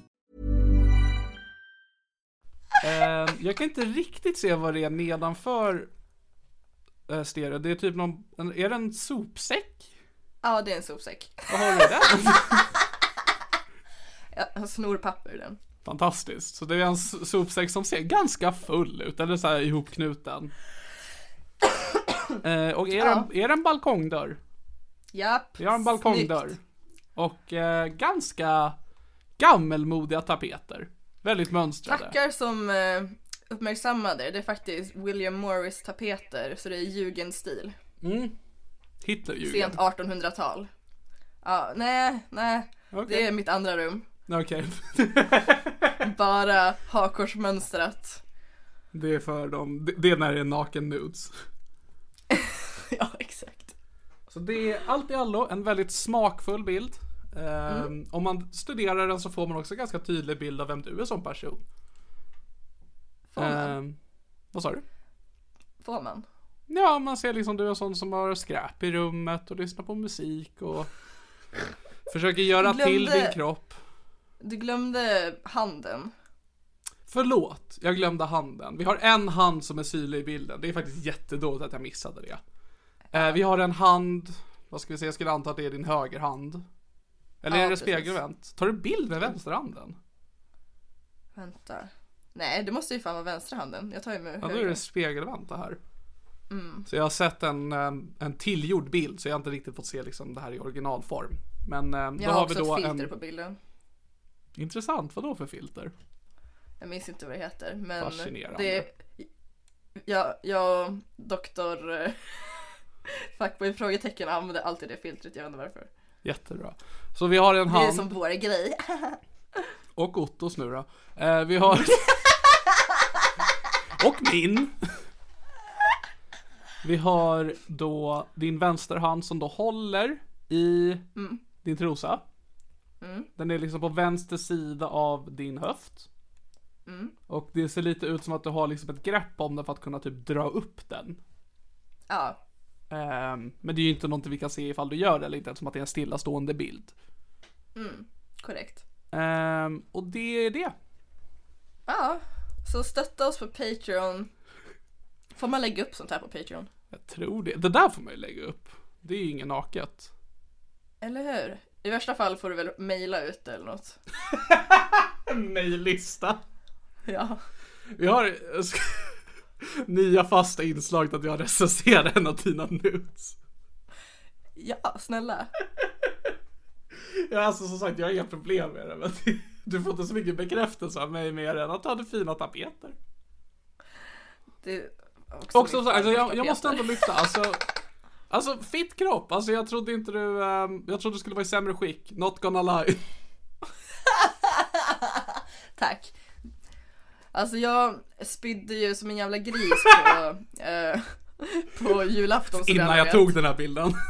Eh, jag kan inte riktigt se vad det är nedanför eh, stereo. Det är typ någon, en, är det en sopsäck?
Ja, det är en sopsäck.
Vad har du där?
Jag snor papper ur den.
Fantastiskt. Så det är en s- sopsäck som ser ganska full ut, eller så här ihopknuten. Eh, och är, det, en, är det en balkongdörr?
Japp.
Vi har en balkongdörr.
snyggt.
Och eh, ganska gammelmodiga tapeter. Väldigt mönstrade.
Tackar som eh, uppmärksammade det. Det är faktiskt William Morris tapeter så det är jugendstil.
Hitlerjugend.
Sent 1800-tal. Ja, nej, nej. Det är mitt andra rum.
Okej.
Bara hakorsmönstrat.
det är för dem. Det- Det är när det är naken nudes.
ja, exakt.
Så det är allt i allo en väldigt smakfull bild. Ehm,
Mm.
Om man studerar den så får man också en ganska tydlig bild av vem du är som person.
Får man?
Ehm, vad sa du?
Får man?
Ja, man ser liksom du är en sån som har skräp i rummet och lyssnar på musik och försöker göra till
Glömde-
din kropp.
Du glömde handen.
Förlåt, jag glömde handen. Vi har en hand som är synlig i bilden. Det är faktiskt jättedåligt att jag missade det. Eh, vi har en hand Vad ska vi säga? Jag skulle anta att det är din högerhand. Eller
Ja,
är det
precis.
spegelvänt? Tar du bild med vänsterhanden?
Vänta. Nej, det måste ju fan vara vänstra handen. Jag tar ju med
Ja, då är
höger. Mm.
det spegelvänt det här. Så jag har sett en, eh, en tillgjord bild så jag har inte riktigt fått se liksom det här i originalform. Men eh, då
Jag har
har vi
också
då
ett filter
en...
på bilden.
Intressant, vad då för filter?
Jag minns inte vad det heter. Men
Fascinerande.
Det... Jag, jag doktor eh, Fuckboy frågetecken använder alltid det filtret. Jag undrar varför.
Jättebra. Så vi har en
Det är
hand
som vår grej.
och Ottos nu då. Eh, vi har... och min! vi har då din vänsterhand som då håller i din trosa. Den är liksom på vänster sida av din höft. Och det ser lite ut som att du har liksom ett grepp om den för att kunna typ dra upp den.
Ja,
Ehm, men det är ju inte någonting vi kan se ifall du gör det eller inte eftersom att det är en stillastående bild.
korrekt.
Ehm, och det är det.
Ja, så stötta oss på Patreon. Får man lägga upp sånt här på Patreon?
Jag tror det. Det där får man ju lägga upp. Det är ju inget naket.
Eller hur? I värsta fall får du väl mejla ut det eller något.
Mejllista.
Ja.
Vi har nya fasta inslag att jag recenserar en av dina nudes.
Ja, snälla.
Ja, alltså som sagt, jag har inga problem med det. Men du får inte så mycket bekräftelse av mig mer än att du hade fina tapeter.
Det är också
Och som
mitt
sagt, alltså, jag,
första
jag måste
Peter.
ändå lyfta, alltså. Alltså, fit kropp. Alltså jag trodde inte du, ehm, jag trodde du skulle vara i sämre skick. Not gonna lie.
Tack. Alltså jag spydde ju som en jävla gris på, eh, på julafton. som
Innan
alla
jag
vet.
tog den här bilden.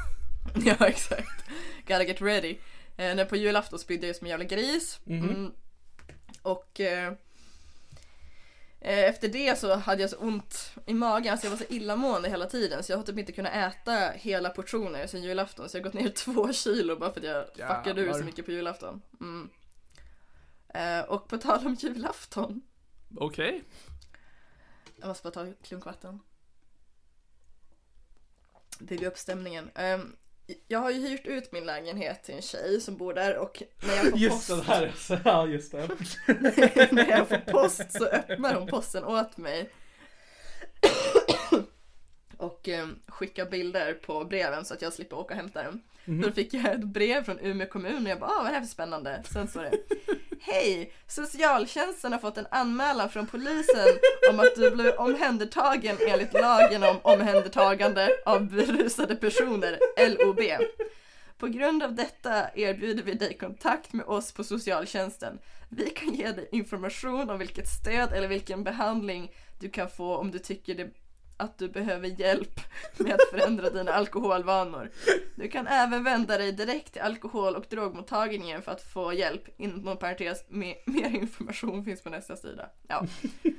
Ja, exakt. Gotta get ready. Eh, när på julafton spydde jag som en jävla gris. Mm. Och eh, eh, efter det så hade jag så ont i magen, alltså jag var så illamående hela tiden så jag har typ inte kunnat äta hela portioner sen julafton så jag har gått ner två kilo bara för att jag fuckade ur
Jävlar.
så mycket på julafton. Mm. Eh, och på tal om julafton,
Okej.
jag måste bara ta en klunk vatten. Bygga upp stämningen. Ehm, jag har ju hyrt ut min lägenhet till en tjej som bor där och när jag får
Just
post
det där, så, ja just det.
när jag får post så öppnar hon posten åt mig. Och eh, skickar bilder på breven så att jag slipper åka och hämta dem. Så då fick jag ett brev från Umeå kommun och jag bara, ah, vad är det här för spännande? Sen står det, hej! Socialtjänsten har fått en anmälan från polisen om att du blev omhändertagen enligt lagen om omhändertagande av berusade personer, LOB. På grund av detta erbjuder vi dig kontakt med oss på socialtjänsten. Vi kan ge dig information om vilket stöd eller vilken behandling du kan få om du tycker det, att du behöver hjälp med att förändra dina alkoholvanor. Du kan även vända dig direkt till alkohol och drogmottagningen för att få hjälp. Inom parentes, med, mer information finns på nästa sida. Ja.
Ja,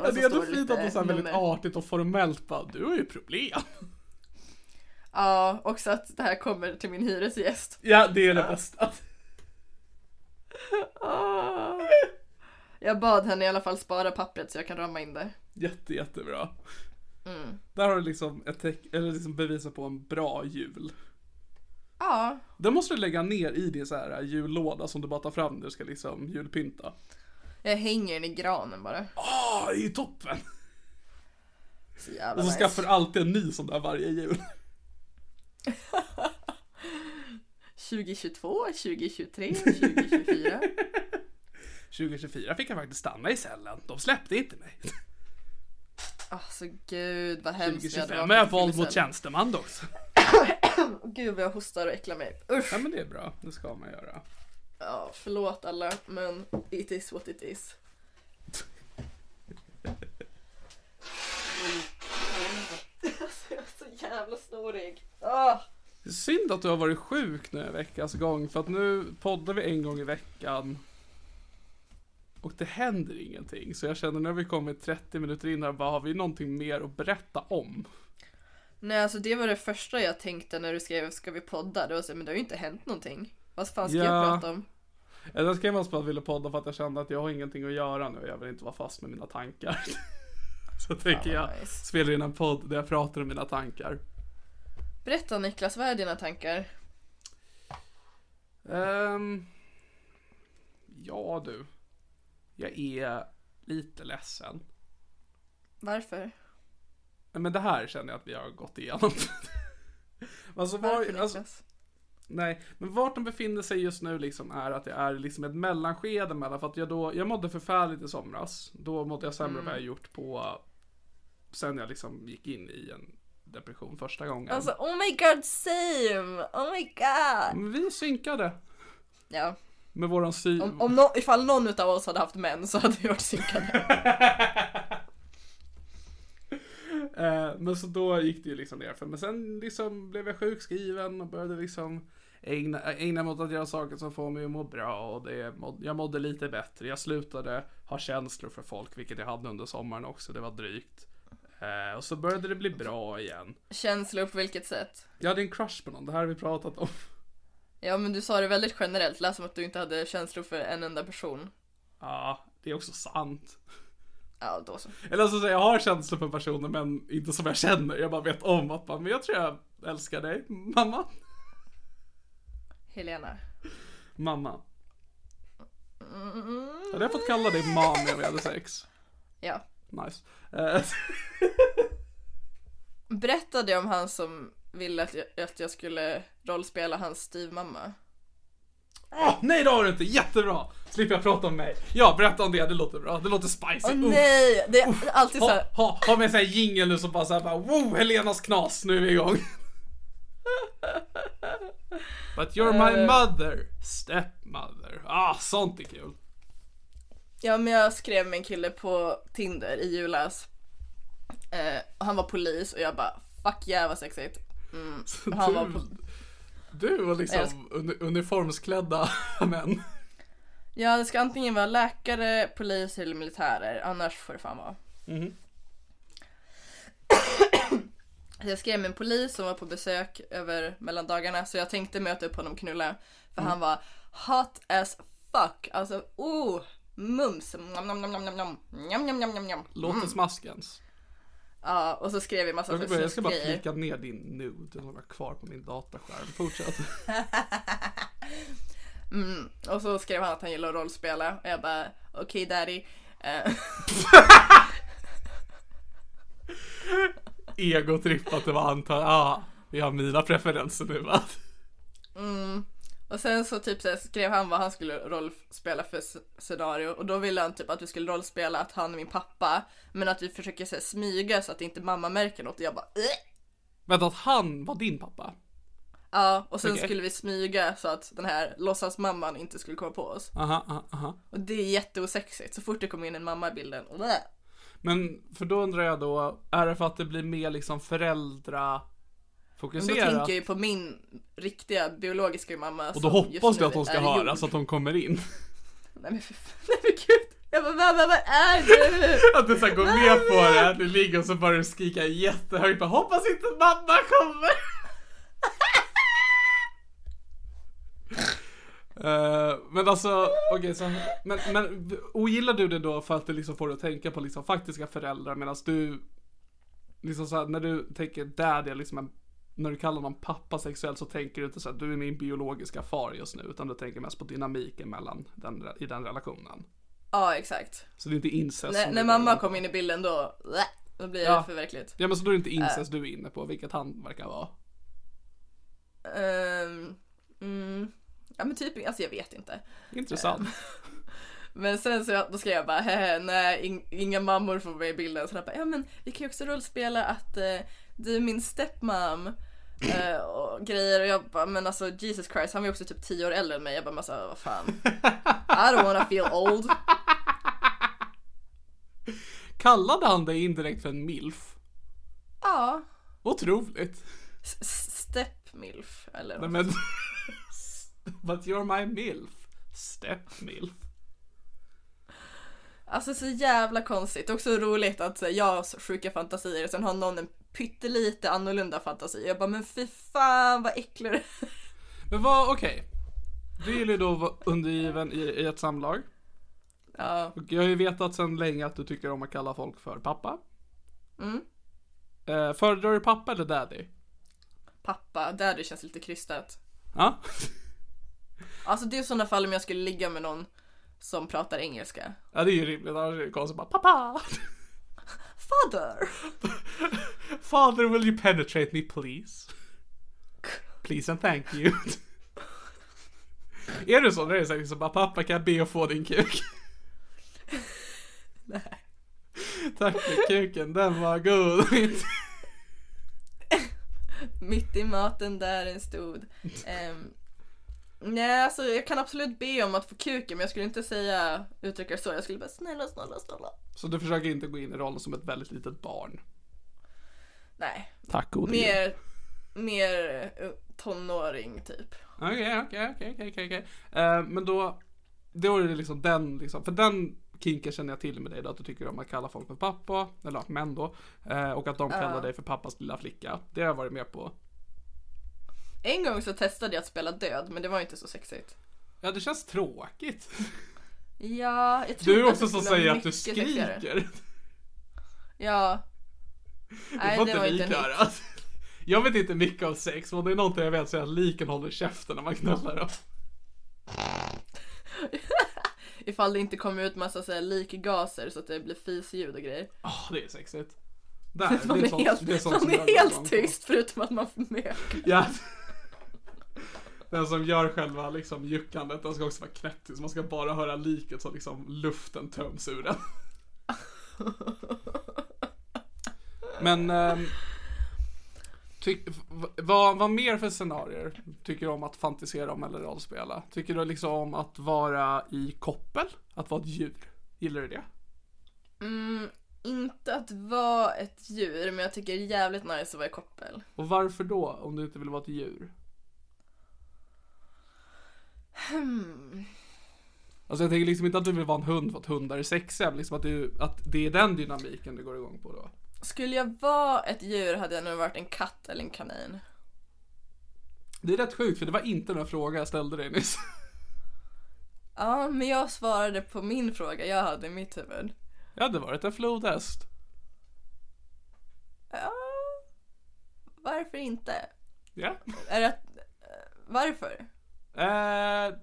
Och
det
så
är ändå
står
fint
lite
att de så här väldigt
nummer.
artigt och formellt bara, du har ju problem.
Ja, också att det här kommer till min hyresgäst.
Ja, det är det bästa.
Ah. Jag bad henne i alla fall spara pappret så jag kan rama in det.
Jätte, jättebra.
Mm.
Där har du liksom ett teck, eller liksom beviset på en bra jul.
Ja,
Den måste du lägga ner i din så här jullåda som du bara tar fram när du ska liksom julpynta.
jag hänger den i granen bara.
Ah, det är ju toppen!
Så jävla
Och så
nice.
skaffar du alltid en ny sån där varje jul.
2022, 2023, 2024.
2024 fick jag faktiskt stanna i cellen. De släppte inte mig.
Alltså gud vad hemskt hade
2025
varit
är
i
våld mot
fyllecell.
tjänsteman också.
Gud vad jag hostar och äcklar mig. Usch.
Ja men det är bra, det ska man göra.
Ja, förlåt alla men it is what it is. alltså jag är så jävla snorig. Ah.
Synd att du har varit sjuk nu en veckas gång för att nu poddar vi en gång i veckan. Och det händer ingenting. Så jag känner när vi kommit 30 minuter in här, bara har vi någonting mer att berätta om?
Nej alltså det var det första jag tänkte när du skrev ska vi podda? Det var så, men det har ju inte hänt någonting. Vad fan ska
Ja.
jag prata om?
Jag skrev mest på att jag ville podda för att jag kände att jag har ingenting att göra nu och jag vill inte vara fast med mina tankar. så tänker jag
nice.
spela in en podd där jag pratar om mina tankar.
Berätta Niklas, vad är dina tankar?
Ehm, ja du. Jag är lite ledsen.
Varför?
Nej, Men det här känner jag att vi har gått igenom. alltså,
Varför
var, alltså,
Niklas?
nej, men vart de befinner sig just nu liksom är att jag är liksom ett mellanskede mellan för att jag då, jag mådde förfärligt i somras. Då mådde jag sämre än
Mm.
vad jag gjort på, sen jag liksom gick in i en depression första gången.
Alltså oh my god same! Oh my god!
Men vi synkade
Ja,
med våran sy...
om, om nå- ifall någon utav oss hade haft män så hade vi varit synkade.
Eh, men så då gick det ju liksom nerför. Men sen liksom blev jag sjukskriven och började liksom ägna, ägna mig åt att göra saker som får mig att må bra. Och det, må- jag mådde lite bättre. Jag slutade ha känslor för folk, vilket jag hade under sommaren också. Det var drygt. Eh, och så började det bli bra igen.
Känslor på vilket sätt?
Jag hade en crush på någon, det här har vi pratat om.
Ja men du sa det väldigt generellt, lät som att du inte hade känslor för en enda person.
Ja, det är också sant.
Ja då så.
Eller alltså, så säger jag, jag har känslor för personer men inte som jag känner. Jag bara vet om att man, men jag tror jag älskar dig, mamma.
Helena.
Mamma.
Mm.
Hade jag fått kalla dig mam när vi hade sex?
Ja.
Nice. Eh,
Berättade jag om han som ville att jag, att jag skulle rollspela hans styvmamma?
åh, Ah, nej det har du inte, jättebra! Slipper jag prata om mig. Ja, berätta om det, det låter bra. Det låter spicy.
Åh
Uff.
nej! Det är alltid så
Ha,
här.
ha, ha med en sån här jingel nu som bara såhär bara wow, Helenas knas, nu är vi igång. But you're
Eh.
my mother, stepmother. Ah, sånt är kul.
Ja men jag skrev med en kille på Tinder i julas. Eh, och han var polis och jag bara fuck yeah vad sexigt. Mm. Och Han var
du-
pol-
Du och
Jag
liksom
sk-
uni- uniformsklädda män.
ja det ska antingen vara läkare, poliser eller militärer annars får det fan vara.
Mhm.
Så Jag skrev med en polis som var på besök över mellandagarna så jag tänkte möta upp honom och knulla. För
Mm.
han var hot as fuck. Alltså oh, mums. Nom, nom, nom, nom, nom, nom. Nom, nom, nom, nom, nom.
Låter smaskens.
Ja, och så skrev vi massa
Jag, ska bara- jag ska bara
grejer.
plika ner din nude, den har jag kvar på min dataskärm. Fortsätt.
Och så skrev han att han gillar att rollspela och jag bara okej daddy. Eh,
Egotripp att det var antar, ah, vi har mina preferenser nu va?
och sen så typ så här skrev han vad han skulle rollspela för s- scenario och då ville han typ att vi skulle rollspela att han är min pappa men att vi försöker så här, smyga så att inte mamma märker något och jag bara "Eh."
Vänta, att han var din pappa?
Ja, och sen
Okej.
skulle vi smyga så att den här låtsasmamman inte skulle komma på oss.
Aha, aha, aha.
Och det är jätteosexigt så fort det kommer in en mamma i bilden. blä.
Men, för då undrar jag då, är det för att det blir mer liksom
Men då
föräldrafokuserat?
tänker jag ju på min riktiga biologiska mamma.
Och då hoppas du att hon ska höra så att hon kommer in.
Nej men för nej men gud. Jag bara mamma vad är du?
Att du såhär går med på det, att ni ligger och så börjar du skrika jättehögt bara, hoppas inte mamma kommer! Eh, men alltså, okej så, men, men ogillar du det då för att det liksom får dig att tänka på liksom faktiska föräldrar medan du, liksom såhär när du tänker dad är liksom en, när du kallar någon pappa sexuellt så tänker du inte såhär du är min biologiska far just nu utan du tänker mest på dynamiken mellan den, i den relationen.
Ja exakt.
Så det är inte incest
När,
som
när
du
mamma
börjar-
kommer in i bilden då, blä, då blir
Ja.
det för verkligt.
Ja men så då är det inte incest du är inne på, vilket han verkar vara.
Ehm, mm, ja men typ, alltså jag vet inte.
Intressant.
Men sen så då skrev jag bara hehe, nej ing- inga mammor får med i bilden. Så jag bara, ja men vi kan ju också rollspela att eh, du är min stepmom. eh, och grejer och jag bara, men alltså Jesus Christ han var ju också typ 10 år äldre än mig. Jag bara, men alltså vad fan. I don't wanna feel old.
Kallade han dig indirekt för en milf?
Ja,
Otroligt.
s- s- stepmilf eller
Nej
något.
men... But you're my milf. Step milf.
Alltså så jävla konstigt. Också roligt att så, här, jag har så sjuka fantasier och sen har någon en pyttelite annorlunda fantasi. Jag bara, men fy fan vad äcklig du är.
Men vad, okej. Du gillar ju då att vara undergiven i, i ett samlag.
Ja,
Och jag har ju vetat sedan länge att du tycker om att kalla folk för pappa. Mm. Eh, föredrar du pappa eller daddy?
pappa, daddy känns lite krystat.
Ja.
Alltså det är sådana fall om jag skulle ligga med någon som pratar engelska.
ja, det är ju rimligt. Annars är det konstigt bara pappa.
Father!
Father will you penetrate me please? Please and thank you. är du sån? Då är det säkert så liksom bara pappa kan jag be att få din kuk? Nej. Tack för kuken, den var god.
Mitt i maten där den stod. Ehm, nej, alltså jag kan absolut be om att få kuken men jag skulle inte säga uttrycka det så. Jag skulle bara snälla, snälla, snälla.
så du försöker inte gå in i rollen som ett väldigt litet barn?
Nej,
Tack gode gud.
mer, mer eh, tonåring typ.
Okej, okej, okej, okej, okej, okej. Eh, Men då, då är det liksom den, liksom, för den kinken känner jag till med dig då, att du tycker om att kalla folk för pappa, eller ja, män då, eh, och att de kallar dig för pappas lilla flicka. Det har jag varit med på.
En gång så testade jag att spela död men det var inte så sexigt.
Ja, det känns tråkigt.
Ja, jag
Du
trodde
är
Typ att
också
det
som
skulle vara
säger att du
mycket sexigare.
skriker.
Ja.
Det
Nej,
får
det var
inte
inte
vi
en hit.
göra. Jag vet inte mycket om sex, men om det är någonting jag vet så är att liken håller käften när man knullar dem.
Ifall det inte kommer ut massa så här likgaser så att det blir fisljud och grejer.
Åh, Ah, det är sexigt. Där, det
Man
är
är
sånt,
helt,
det är sånt som
man
jag går
är
igång
helt
på.
tyst förutom att man får med.
Ja. Den som gör själva liksom juckandet, den ska också vara knäpptyst. Man ska bara höra liket så liksom luften töms ur den. Men, ehm, tyck- v- vad, vad mer för scenarier tycker du om att fantisera om eller rollspela? Tycker du liksom om att vara i koppel? Att vara ett djur? Gillar du det?
Mm, inte att vara ett djur men jag tycker det är jävligt nice att vara i koppel.
Och varför då, om du inte vill vara ett djur?
Hmm.
Alltså jag tänker liksom inte att du vill vara en hund för att hundar är sexiga, men liksom att, du, att det är den dynamiken du går igång på då.
Skulle jag vara ett djur hade jag nog varit en katt eller en kanin.
Det är rätt sjukt för det var inte den fråga jag ställde dig nyss.
Ja, men jag svarade på min fråga jag hade i mitt huvud.
Jag hade varit en flodhäst.
Ja, varför inte?
Ja.
Är det att, varför?
Eh,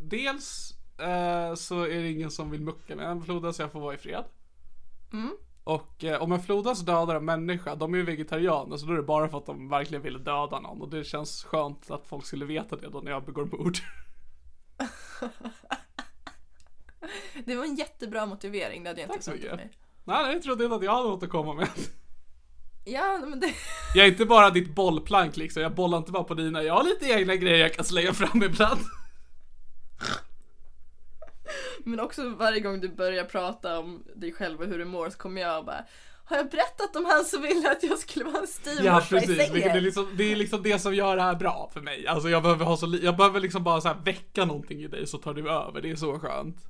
dels eh, så är det ingen som vill mucka med en flodhäst så jag får vara i fred. Och eh, om en flodhäst dödar en människa, de är ju vegetarianer så då är det bara för att de verkligen ville döda någon och det känns skönt att folk skulle veta det då när jag begår mord.
Det var en jättebra motivering, det hade jag
Tack
inte
så
förväntat
mycket.
mig.
Nej, jag trodde inte att jag hade något att komma med.
Ja, men det...
Jag är inte bara ditt bollplank liksom, jag bollar inte bara på dina, jag har lite egna grejer jag kan slänga fram ibland.
Men också varje gång du börjar prata om dig själv och hur du mår så kommer jag och bara Har jag berättat om han som ville att jag skulle vara en
Ja
styvmorsa i
precis, vilket är
sängen?
liksom, det är liksom det som gör det här bra för mig. Alltså jag behöver ha så li- jag behöver liksom bara så här väcka någonting i dig så tar du över, det är så skönt.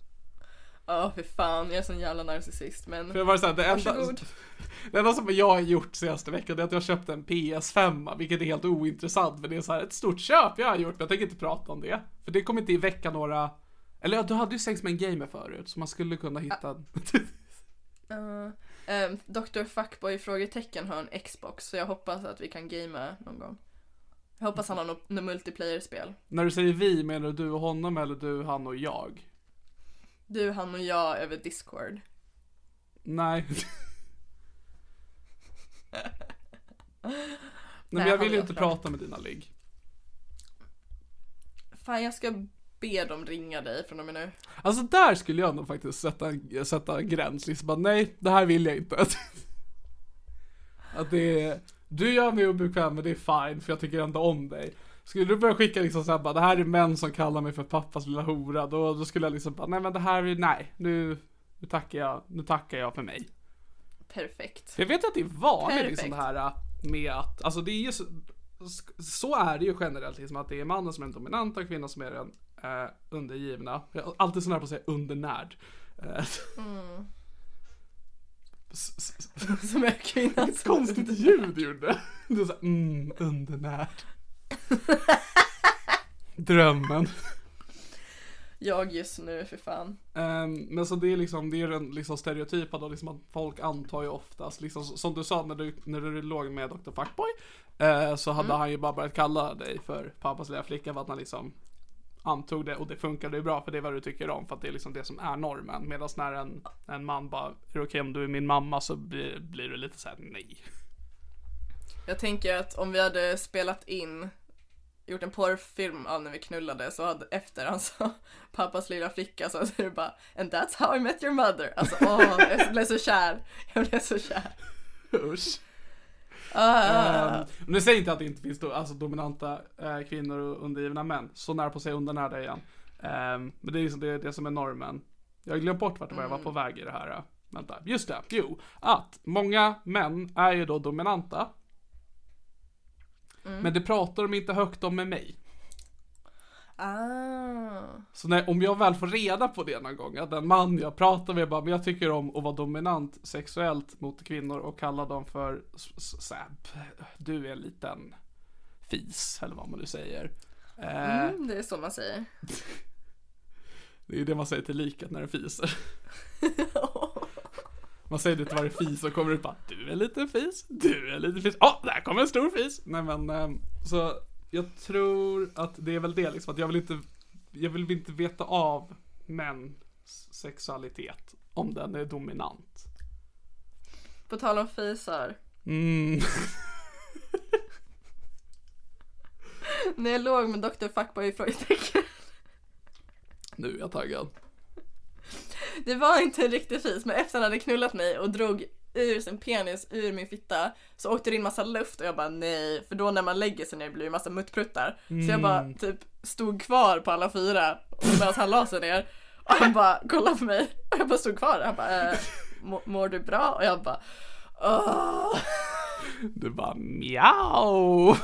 Ja, fy fan, jag är sån jävla narcissist men
För jag var så här, det enda,
Varsågod.
det enda som jag har gjort senaste veckan det är att jag köpte en PS5, vilket är helt ointressant för det är så här ett stort köp jag har gjort, men jag tänker inte prata om det. För det kommer inte i veckan några, eller ja, du hade ju sex med en gamer förut, så man skulle kunna hitta en...
uh, um, Dr. Fuckboy frågetecken har en Xbox så jag hoppas att vi kan gamea någon gång Jag hoppas han har något något multiplayer-spel
När du säger vi, menar du du och honom eller du, han och jag?
Du, han och jag över Discord
Nej. Nej, men
Nej,
jag
han
vill ju
vet
inte
det.
prata med dina ligg.
Fan, jag ska be dem ringa dig från och med nu
Alltså där skulle jag nog faktiskt sätta, en- sätta en gräns, liksom bara, nej, det här vill jag inte. Att det är, du gör mig obekväm men det är fine för jag tycker ändå om dig. Skulle du börja skicka liksom såhär bara, det här är män som kallar mig för pappas lilla hora, då, då skulle jag liksom bara, nej men det här är, nej, nu, nu tackar jag, nu tackar jag för mig.
Perfekt
För jag vet att det är vanligt liksom
Perfekt.
det här med att, alltså det är ju så, så är det ju generellt liksom att det är mannen som är den dominanta och kvinnan som är den eh, undergivna. Jag är alltid så nära på att säga undernärd. Eh, s- s- s-
Som är kvinnan
Ett konstigt ljud gjorde. Du sa mm, undernärd. Drömmen.
Jag just nu, för fan.
Ehm, men så det är liksom, det är den liksom stereotypa då, liksom att folk antar ju oftast, liksom som du sa när du, när du låg med Dr. Fuckboy, eh, så hade han ju bara börjat kalla dig för pappas lilla flicka för att han liksom antog det och det funkade ju bra för det är vad du tycker om för att det är liksom det som är normen. Medan när en, en man bara, är det okej om du är min mamma så blir, blir du lite såhär nej.
Jag tänker att om vi hade spelat in, gjort en porrfilm av när vi knullade, så hade efter han sa pappas lilla flicka, så är det bara And that's how I met your mother. Alltså åh, jag blev så kär. Jag blev så kär.
Usch.
Ah,
Ehm, nu säger jag inte att det inte finns do, alltså dominanta eh, kvinnor och undergivna män. Så nära på sig undernärda igen. Ehm, men det är liksom det, det som är normen. Jag har glömt bort vart det var jag var på väg i det här. eh. Vänta, just det. Jo, att många män är ju då dominanta. Men det pratar de inte högt om med mig.
ah.
Så när, om jag väl får reda på det någon gång, att den man jag pratar med bara, men jag tycker om att vara dominant sexuellt mot kvinnor och kalla dem för s- s- så här, p- du är en liten fis, eller vad man nu säger. Eh,
Mm, det är så man säger.
Det är det man säger till liket när det fiser. Man säger det till varje fis och kommer ut bara, du är en liten fis, du är en liten fis, åh, där kommer en stor fis. Nej men, ehm, så jag tror att det är väl det liksom, att jag vill inte, jag vill inte veta av mäns sexualitet, om den är dominant.
På tal om fisar.
Mm.
När jag låg med Dr. Fuckboy i frågetecken.
Nu är jag taggad.
Det var inte en riktig fis, men efter han hade knullat mig och drog ur sin penis ur min fitta så åkte det in massa luft och jag bara nej, för då när man lägger sig ner blir det massa muttpruttar. Så jag bara typ stod kvar på alla fyra medan han la sig ner och han bara kollade på mig och jag bara stod kvar han bara eh, må- mår du bra? Och jag bara åh,
Du bara, miau.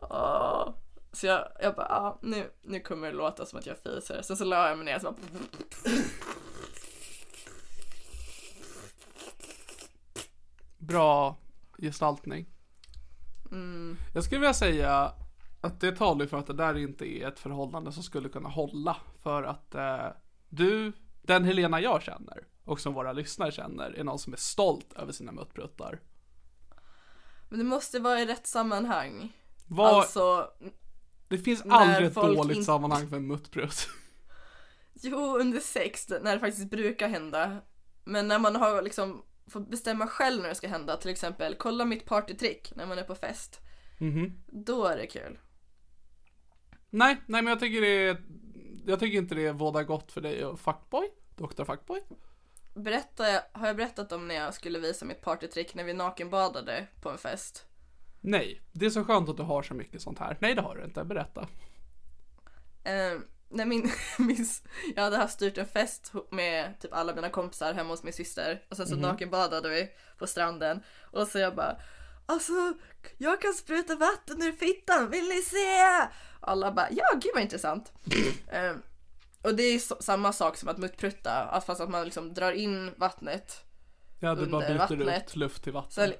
åh. Så jag, jag bara ah, nu, nu kommer det låta som att jag fiser. Sen så la jag mig ner och så bara
bra gestaltning.
Mm.
Jag skulle vilja säga att det talar ju för att det där inte är ett förhållande som skulle kunna hålla. För att eh, du, den Helena jag känner och som våra lyssnare känner är någon som är stolt över sina muttpruttar.
men det måste vara i rätt sammanhang.
Vad,
Alltså
det finns
när
aldrig ett
folk
dåligt
inte-
sammanhang för en muttprutt.
Jo, under sex, när det faktiskt brukar hända. Men när man har liksom får bestämma själv när det ska hända, till exempel kolla mitt partytrick när man är på fest. Då är det kul.
nej, nej men jag tycker det är, jag tycker inte det vådar gott för dig och fuckboy, Dr. Fuckboy.
Berättar jag, har jag berättat om när jag skulle visa mitt partytrick när vi nakenbadade på en fest?
Nej, det är så skönt att du har så mycket sånt här. Nej det har du inte, berätta.
Eh, när min, min, s- jag hade haft styrt en fest ho- med typ alla mina kompisar hemma hos min syster och sen så nakenbadade vi på stranden och så jag bara Alltså, jag kan spruta vatten ur fittan, vill ni se? Alla bara, ja gud vad intressant. Eh, och det är så, samma sak som att muttprutta, att- fast att man liksom drar in vattnet
Ja, du bara
Under
byter ut
vattnet.
luft till vatten.
så eller-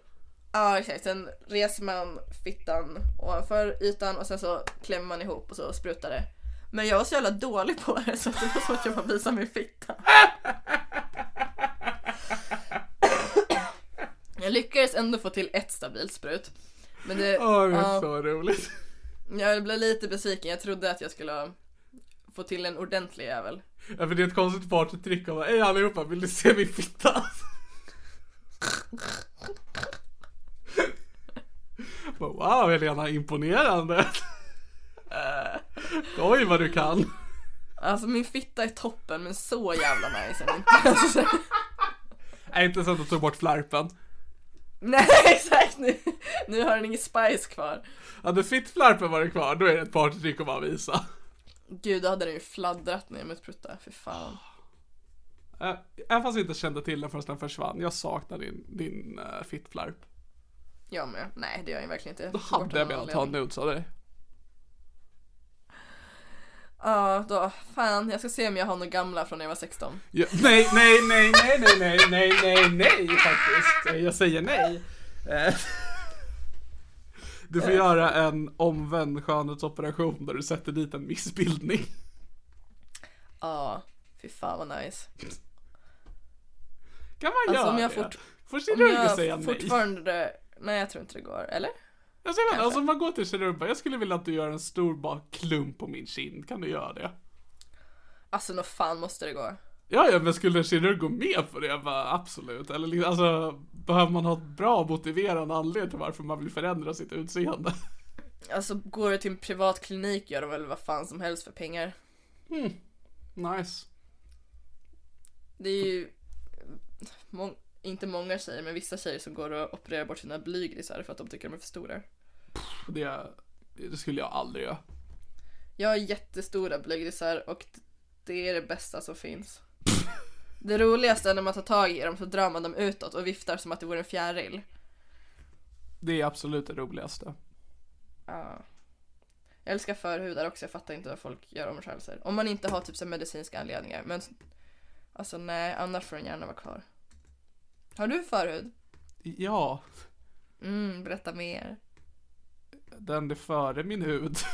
ja exakt, sen reser man fittan ovanför ytan och sen så klämmer man ihop och så sprutar det. Men jag var så jävla dålig på det så att det var som att jag bara visade min fitta. Jag lyckades ändå få till ett stabilt sprut. Men det,
Åh, det är
ja,
så roligt.
jag blev lite besviken, jag trodde att jag skulle få till en ordentlig jävel.
Ja, för det är ett konstigt partytrick av Hej allihopa, vill du se min fitta? Bara, wow Helena, imponerande. Oj vad du kan.
Alltså min fitta är toppen men så jävla nice är den inte. Alltså,
Nej, inte så att du tog bort flärpen.
Nej exakt, nu, nu har den ingen spice kvar.
Hade fittflärpen varit kvar, då är det ett partytrick att bara visa.
Gud, då hade den ju fladdrat ner mot prutta. Fy fan.
Ah. Eh, Även fast jag inte kände till den förrän den försvann. Jag saknar din, din uh, fittflärp.
Jag med. Nej, det gör jag verkligen inte.
Då hade jag velat ta en nudes av dig.
Ja, då. Fan, jag ska se om jag har några gamla från när jag var 16.
Ja, nej, nej, nej, nej, nej, nej, nej, nej, nej faktiskt. Jag säger nej. Eh, Du
Eh.
får göra en omvänd skönhetsoperation där du sätter dit en missbildning.
Ja, fy fan vad nice.
Kan man
Alltså, om
göra
jag
det?
fort-
Får sin
Om
kirurg att
jag
säga nej?
fortfarande... Nej jag tror inte det går, eller?
Alltså, jag vet,
Kanske.
alltså om man går till kirurgen och bara, jag skulle vilja att du gör en stor bara klump på min kind, kan du göra det?
Alltså nå fan måste det gå.
Ja, ja, men skulle en kirurg gå med på det? Jag bara, absolut. Eller liksom, alltså, behöver man ha ett bra motiverande anledning till varför man vill förändra sitt utseende?
Alltså går du till en privat klinik gör de väl vad fan som helst för pengar.
Nice.
Det är ju mång- inte många tjejer men vissa tjejer som går och opererar bort sina blygrisar för att de tycker de är för stora.
Det, det skulle jag aldrig göra.
Jag har jättestora blygrisar och d- det är det bästa som finns. Det roligaste är när man tar tag i dem så drar man dem utåt och viftar som att det vore en fjäril.
Det är absolut det roligaste.
Ja. Jag älskar förhudar också, jag fattar inte vad folk gör omskärelser. Om man inte har typ så här medicinska anledningar. Men alltså nej, annars får den gärna vara kvar. Har du förhud?
Ja,
Mm, berätta mer.
den är före min hud.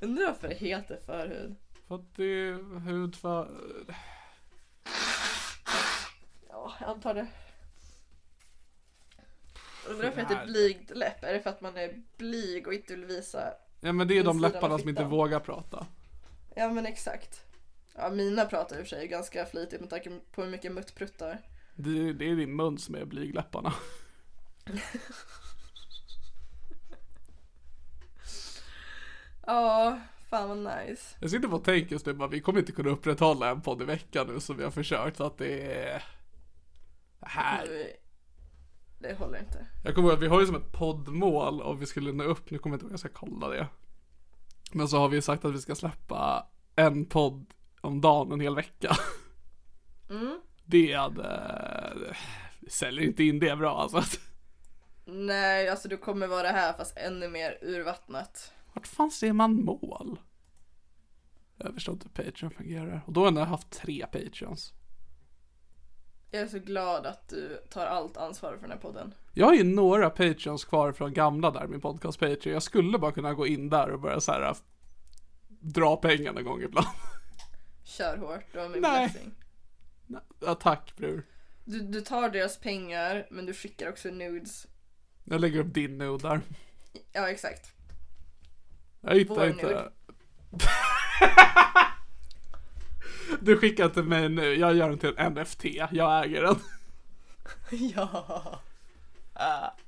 Undrar varför det heter förhud?
För att det är hud för...
Ja, jag antar det. Undrar varför det
Här.
heter blyg läpp? Är det för att man är blyg och inte vill visa?
Ja men det är de
Insidan av
läpparna som inte
fittan.
vågar prata.
Ja men exakt. Ja, mina pratar i och för sig ganska flitigt med tanke på hur mycket muttpruttar.
Det, det är din mun som är blygläpparna.
Ja, fan vad nice.
Jag sitter bara och tänker just nu bara, vi kommer inte kunna upprätthålla en podd i veckan nu som vi har försökt så att det är... Det Här.
Nu- Det håller inte.
Jag kommer ihåg att vi har ju som ett poddmål om vi skulle nå upp, nu kommer jag inte ihåg, jag ska kolla det. Men så har vi sagt att vi ska släppa en podd om dagen en hel vecka. Det hade... Vi säljer inte in det bra alltså.
Nej, alltså du kommer vara här fast ännu mer urvattnat.
Vart fan ser man mål? Jag förstår inte hur Patreon fungerar. Och då har jag ändå haft tre Patreons.
Jag är så glad att du tar allt ansvar för den här podden.
Jag har ju några Patreons kvar från gamla där, min podcast Patreon. Jag skulle bara kunna gå in där och börja så här eh, dra pengar någon gång ibland.
Kör hårt, du har min
Nej.
blessing.
Ja, tack bror.
Du, du tar deras pengar men du skickar också nudes.
Jag lägger upp din nu där.
Ja, exakt.
Jag hittar
Vår
inte. du skickar till mig nu, jag gör den till en NFT, jag äger den.
ja.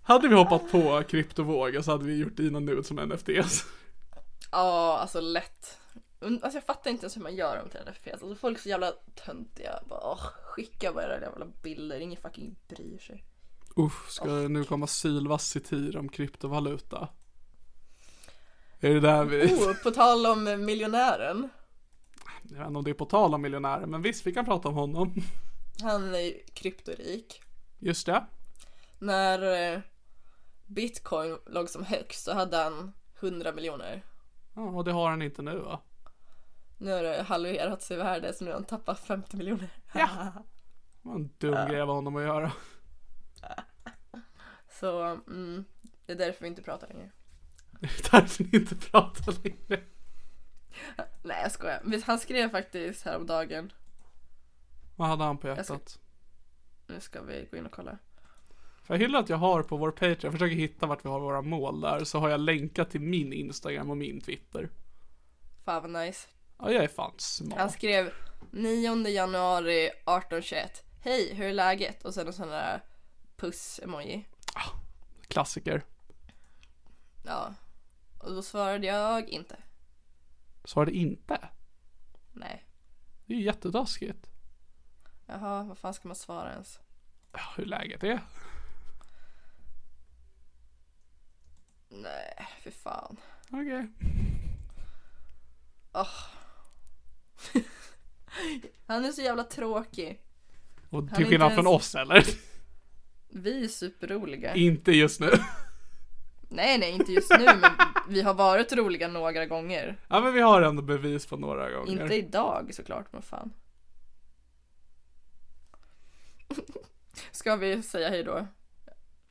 Hade vi hoppat på kryptovågen så hade vi gjort dina nudes som NFTs.
Ja, alltså lätt. Und- Alltså jag fattar inte ens hur man gör dem till NFTs. Alltså folk är så jävla töntiga. Bara, åh, skicka bara era jävla bilder, ingen fucking bryr sig.
Uff, ska det nu komma sylvass satir om kryptovaluta? Är det där vi...
Oh, på tal om eh, miljonären.
Jag vet inte om det är på tal om miljonären, men visst, vi kan prata om honom.
Han är ju kryptorik.
Just det.
När eh, bitcoin låg som högst så hade han 100 miljoner.
Ja, och det har han inte nu va?
Nu har det halverats i värde så nu har han tappat 50 miljoner.
Det var en dum grej av honom att göra.
Så mm, det är därför vi inte pratar längre.
Det är därför ni inte pratar längre.
Nej jag skojar. Men Han skrev faktiskt häromdagen.
Vad hade han på
ska-
hjärtat?
Nu ska vi gå in och kolla.
För jag hyllar att jag har på vår Patreon, jag försöker hitta vart vi har våra mål där, så har jag länkat till min Instagram och min Twitter.
Fan vad nice.
Ja, jag är fan smart.
Han skrev 9 januari 1821. Hej, hur är läget? Och sen en sån där puss-emoji.
Klassiker.
Ja. Och då svarade jag inte.
Svarade inte.
Nej.
Det är ju jättetaskigt.
Jaha, vad fan ska man svara ens?
Ja, hur läget är.
Nej, för fan.
Okej.
Åh. Han är så jävla tråkig.
Och
är
till
inte
skillnad
ens-
från oss eller?
Vi är superroliga.
inte just nu.
Nej, nej, inte just nu, men vi har varit roliga några gånger.
ja, men vi har ändå bevis på några gånger.
Inte idag såklart, men fan. Ska vi säga hej då?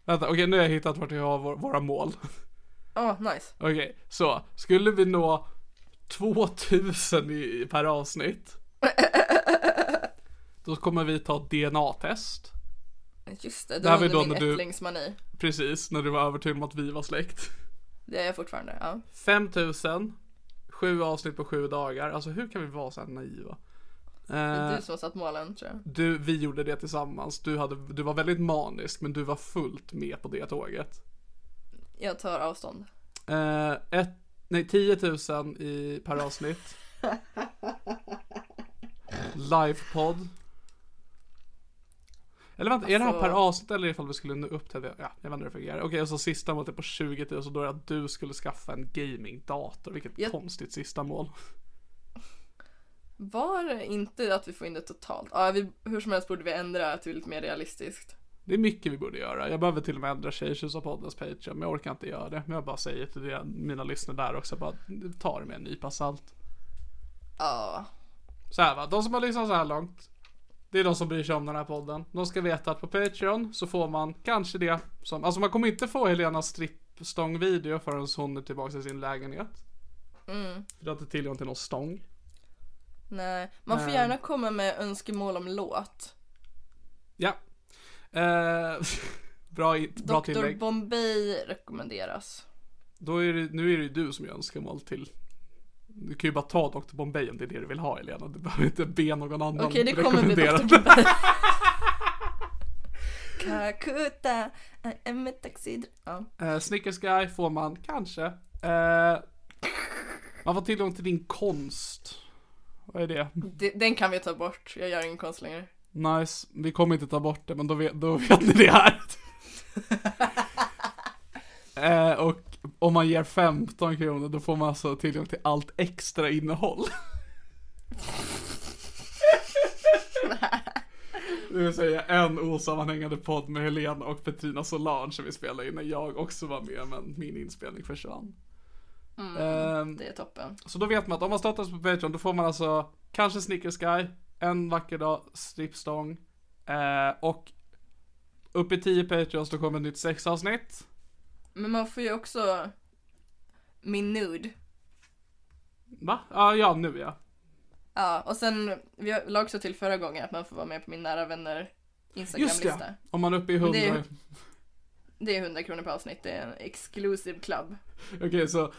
Vänta, okej nu har jag hittat vart vi har vår, våra mål.
Ja, nice.
Okej, så. Skulle vi nå 2000 i, per avsnitt. Då kommer vi ta DNA-test.
Just det,
Det
det
här
var
var ju då
under min
när du-
ättlingsmani.
Precis, när du var övertygad om att vi var släkt.
Det är jag fortfarande, ja.
5000. Sju avsnitt på sju dagar. Alltså hur kan vi vara så här naiva?
Det
Eh,
är du som har satt målen tror jag.
du, vi gjorde det tillsammans. Du, hade, du var väldigt manisk men du var fullt med på det tåget.
Jag tar avstånd.
Eh, ett, nej, 10 000 i, per avsnitt. Livepodd. Eller vänta, är det här per
Alltså-
avsnitt eller ifall vi skulle nå upp till det? Ja, jag vet inte hur det fungerar. Okej, och så sista målet är på 20 000 då är det att du skulle skaffa en gamingdator. Vilket
Jag-
konstigt sista mål.
Var det inte att vi får in det totalt? Ja, vi, hur som helst borde vi ändra till lite mer realistiskt.
Det är mycket vi borde göra. Jag behöver till och med ändra Tjejtjus och poddens page, men jag orkar inte göra det. Men jag bara säger till det, mina lyssnare där också, bara ta det med en nypa salt.
Ja,
Så här va, de som har lyssnat så här långt. Det är de som bryr sig om den här podden. De ska veta att på Patreon så får man kanske det som, alltså man kommer inte få Helenas strippstångvideo förrän hon är tillbaka i sin lägenhet.
Mm.
För du har inte tillgång till någon stång.
nej. Man
Eh.
får gärna komma med önskemål om låt.
Ja. Eh, bra, i- bra
Dr.
tillägg.
Bombay rekommenderas.
Då är det, nu är det ju du som gör önskemål till. Du kan ju bara ta Dr. Bombay om det är det du vill ha Helena. Du behöver inte be någon annan
Okej, det kommer bli
rekommendera.
Dr. Bombay. Kakuta, I am a taxi... dr- Ja.
Eh, Snickers Guy får man kanske. Eh, man får tillgång till din konst. Vad är det?
Det- Den kan vi ta bort, jag gör ingen konst längre.
Nice. Vi kommer inte ta bort det, men då vet, då vet ni det här. eh, och om man ger 15 kronor, då får man alltså tillgång till allt extra innehåll. Det vill säga en osammanhängande podd med Helena och Petrina Solange som vi spelade in när jag också var med men min inspelning försvann. Ehm,
Det är toppen.
så då vet man att om man stöttar oss på Patreon då får man alltså kanske Snickers Guy, en vacker dag, strippstång eh, och upp i 10 Patreons då kommer ett nytt sexavsnitt.
Men man får ju också min nude.
Va? Ja, ja nu ja.
Ja, och sen, vi la också till förra gången att man får vara med på min nära vänner
Just
Instagram-lista.
det, om man är uppe i 100.
det är ju- Det är 100 kronor per avsnitt, det är en exclusive club.
Okej så,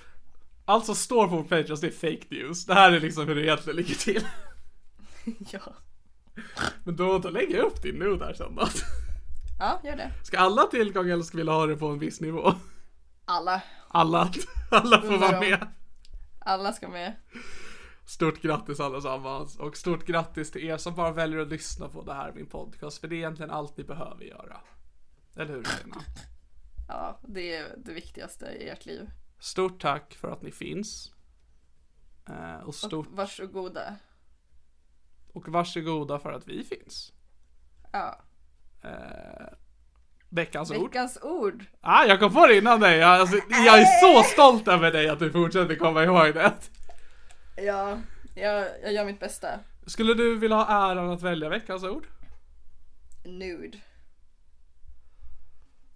allt som står på vår Patreons det är fake news. Det här är liksom hur det egentligen ligger till.
ja.
Men då, då lägger jag upp din nu där sen då.
ja, gör det.
Ska alla ha tillgång eller ska vi ha det på en viss nivå?
Alla,
Alla, alla får
Undrar
vara
om-
med.
alla ska med.
Stort grattis allesammans och stort grattis till er som bara väljer att lyssna på det här min podcast för det är egentligen allt ni behöver göra. Eller hur Lena?
Ja, det är det viktigaste i ert liv.
Stort tack för att ni finns. Eh, och stort
Varsågoda.
och varsågoda för att vi finns.
Ja.
Veckans ord.
Veckans ord.
Ah, jag kom på det innan dig. Jag, alltså, jag är så stolt över dig att du fortsätter komma ihåg det.
Ja, jag, jag gör mitt bästa.
Skulle du vilja ha äran att välja veckans ord?
Nude.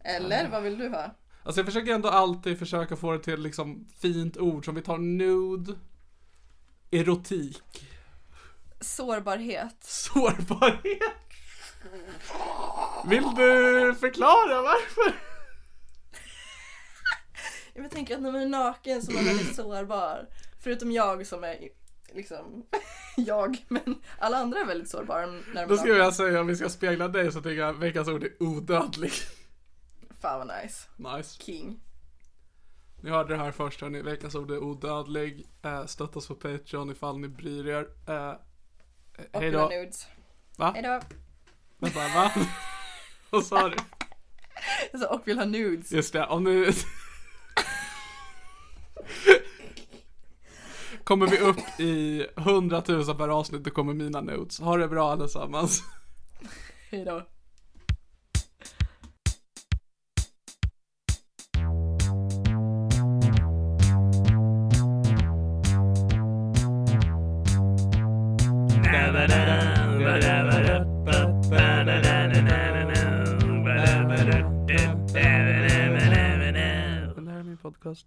Eller vad vill du ha?
Alltså jag försöker ändå alltid försöka få det till liksom fint ord som vi tar nude, erotik,
Sårbarhet.
sårbarhet. Vill du förklara varför?
Jag tänker att när man är naken så är man väldigt sårbar. Förutom jag som är i- liksom jag. Men alla andra är väldigt sårbara när de
Då
är
skulle
nakna.
jag säga om vi ska spegla dig så tycker jag veckans ord är odödlig.
Fan vad nice.
Nice.
King.
Ni hörde det här först hörni. Veckans ord är odödlig. Eh, Stöttas på Patreon ifall ni bryr er. Eh,
Och
Hej
mina
då.
nudes.
Va?
Hejdå.
Vänta, va? Vad sa du?
Alltså, och vill ha nudes.
Just det, om nu... kommer vi upp i 100 000 per avsnitt då kommer mina notes. Ha det bra allesammans.
Hejdå.
podcast.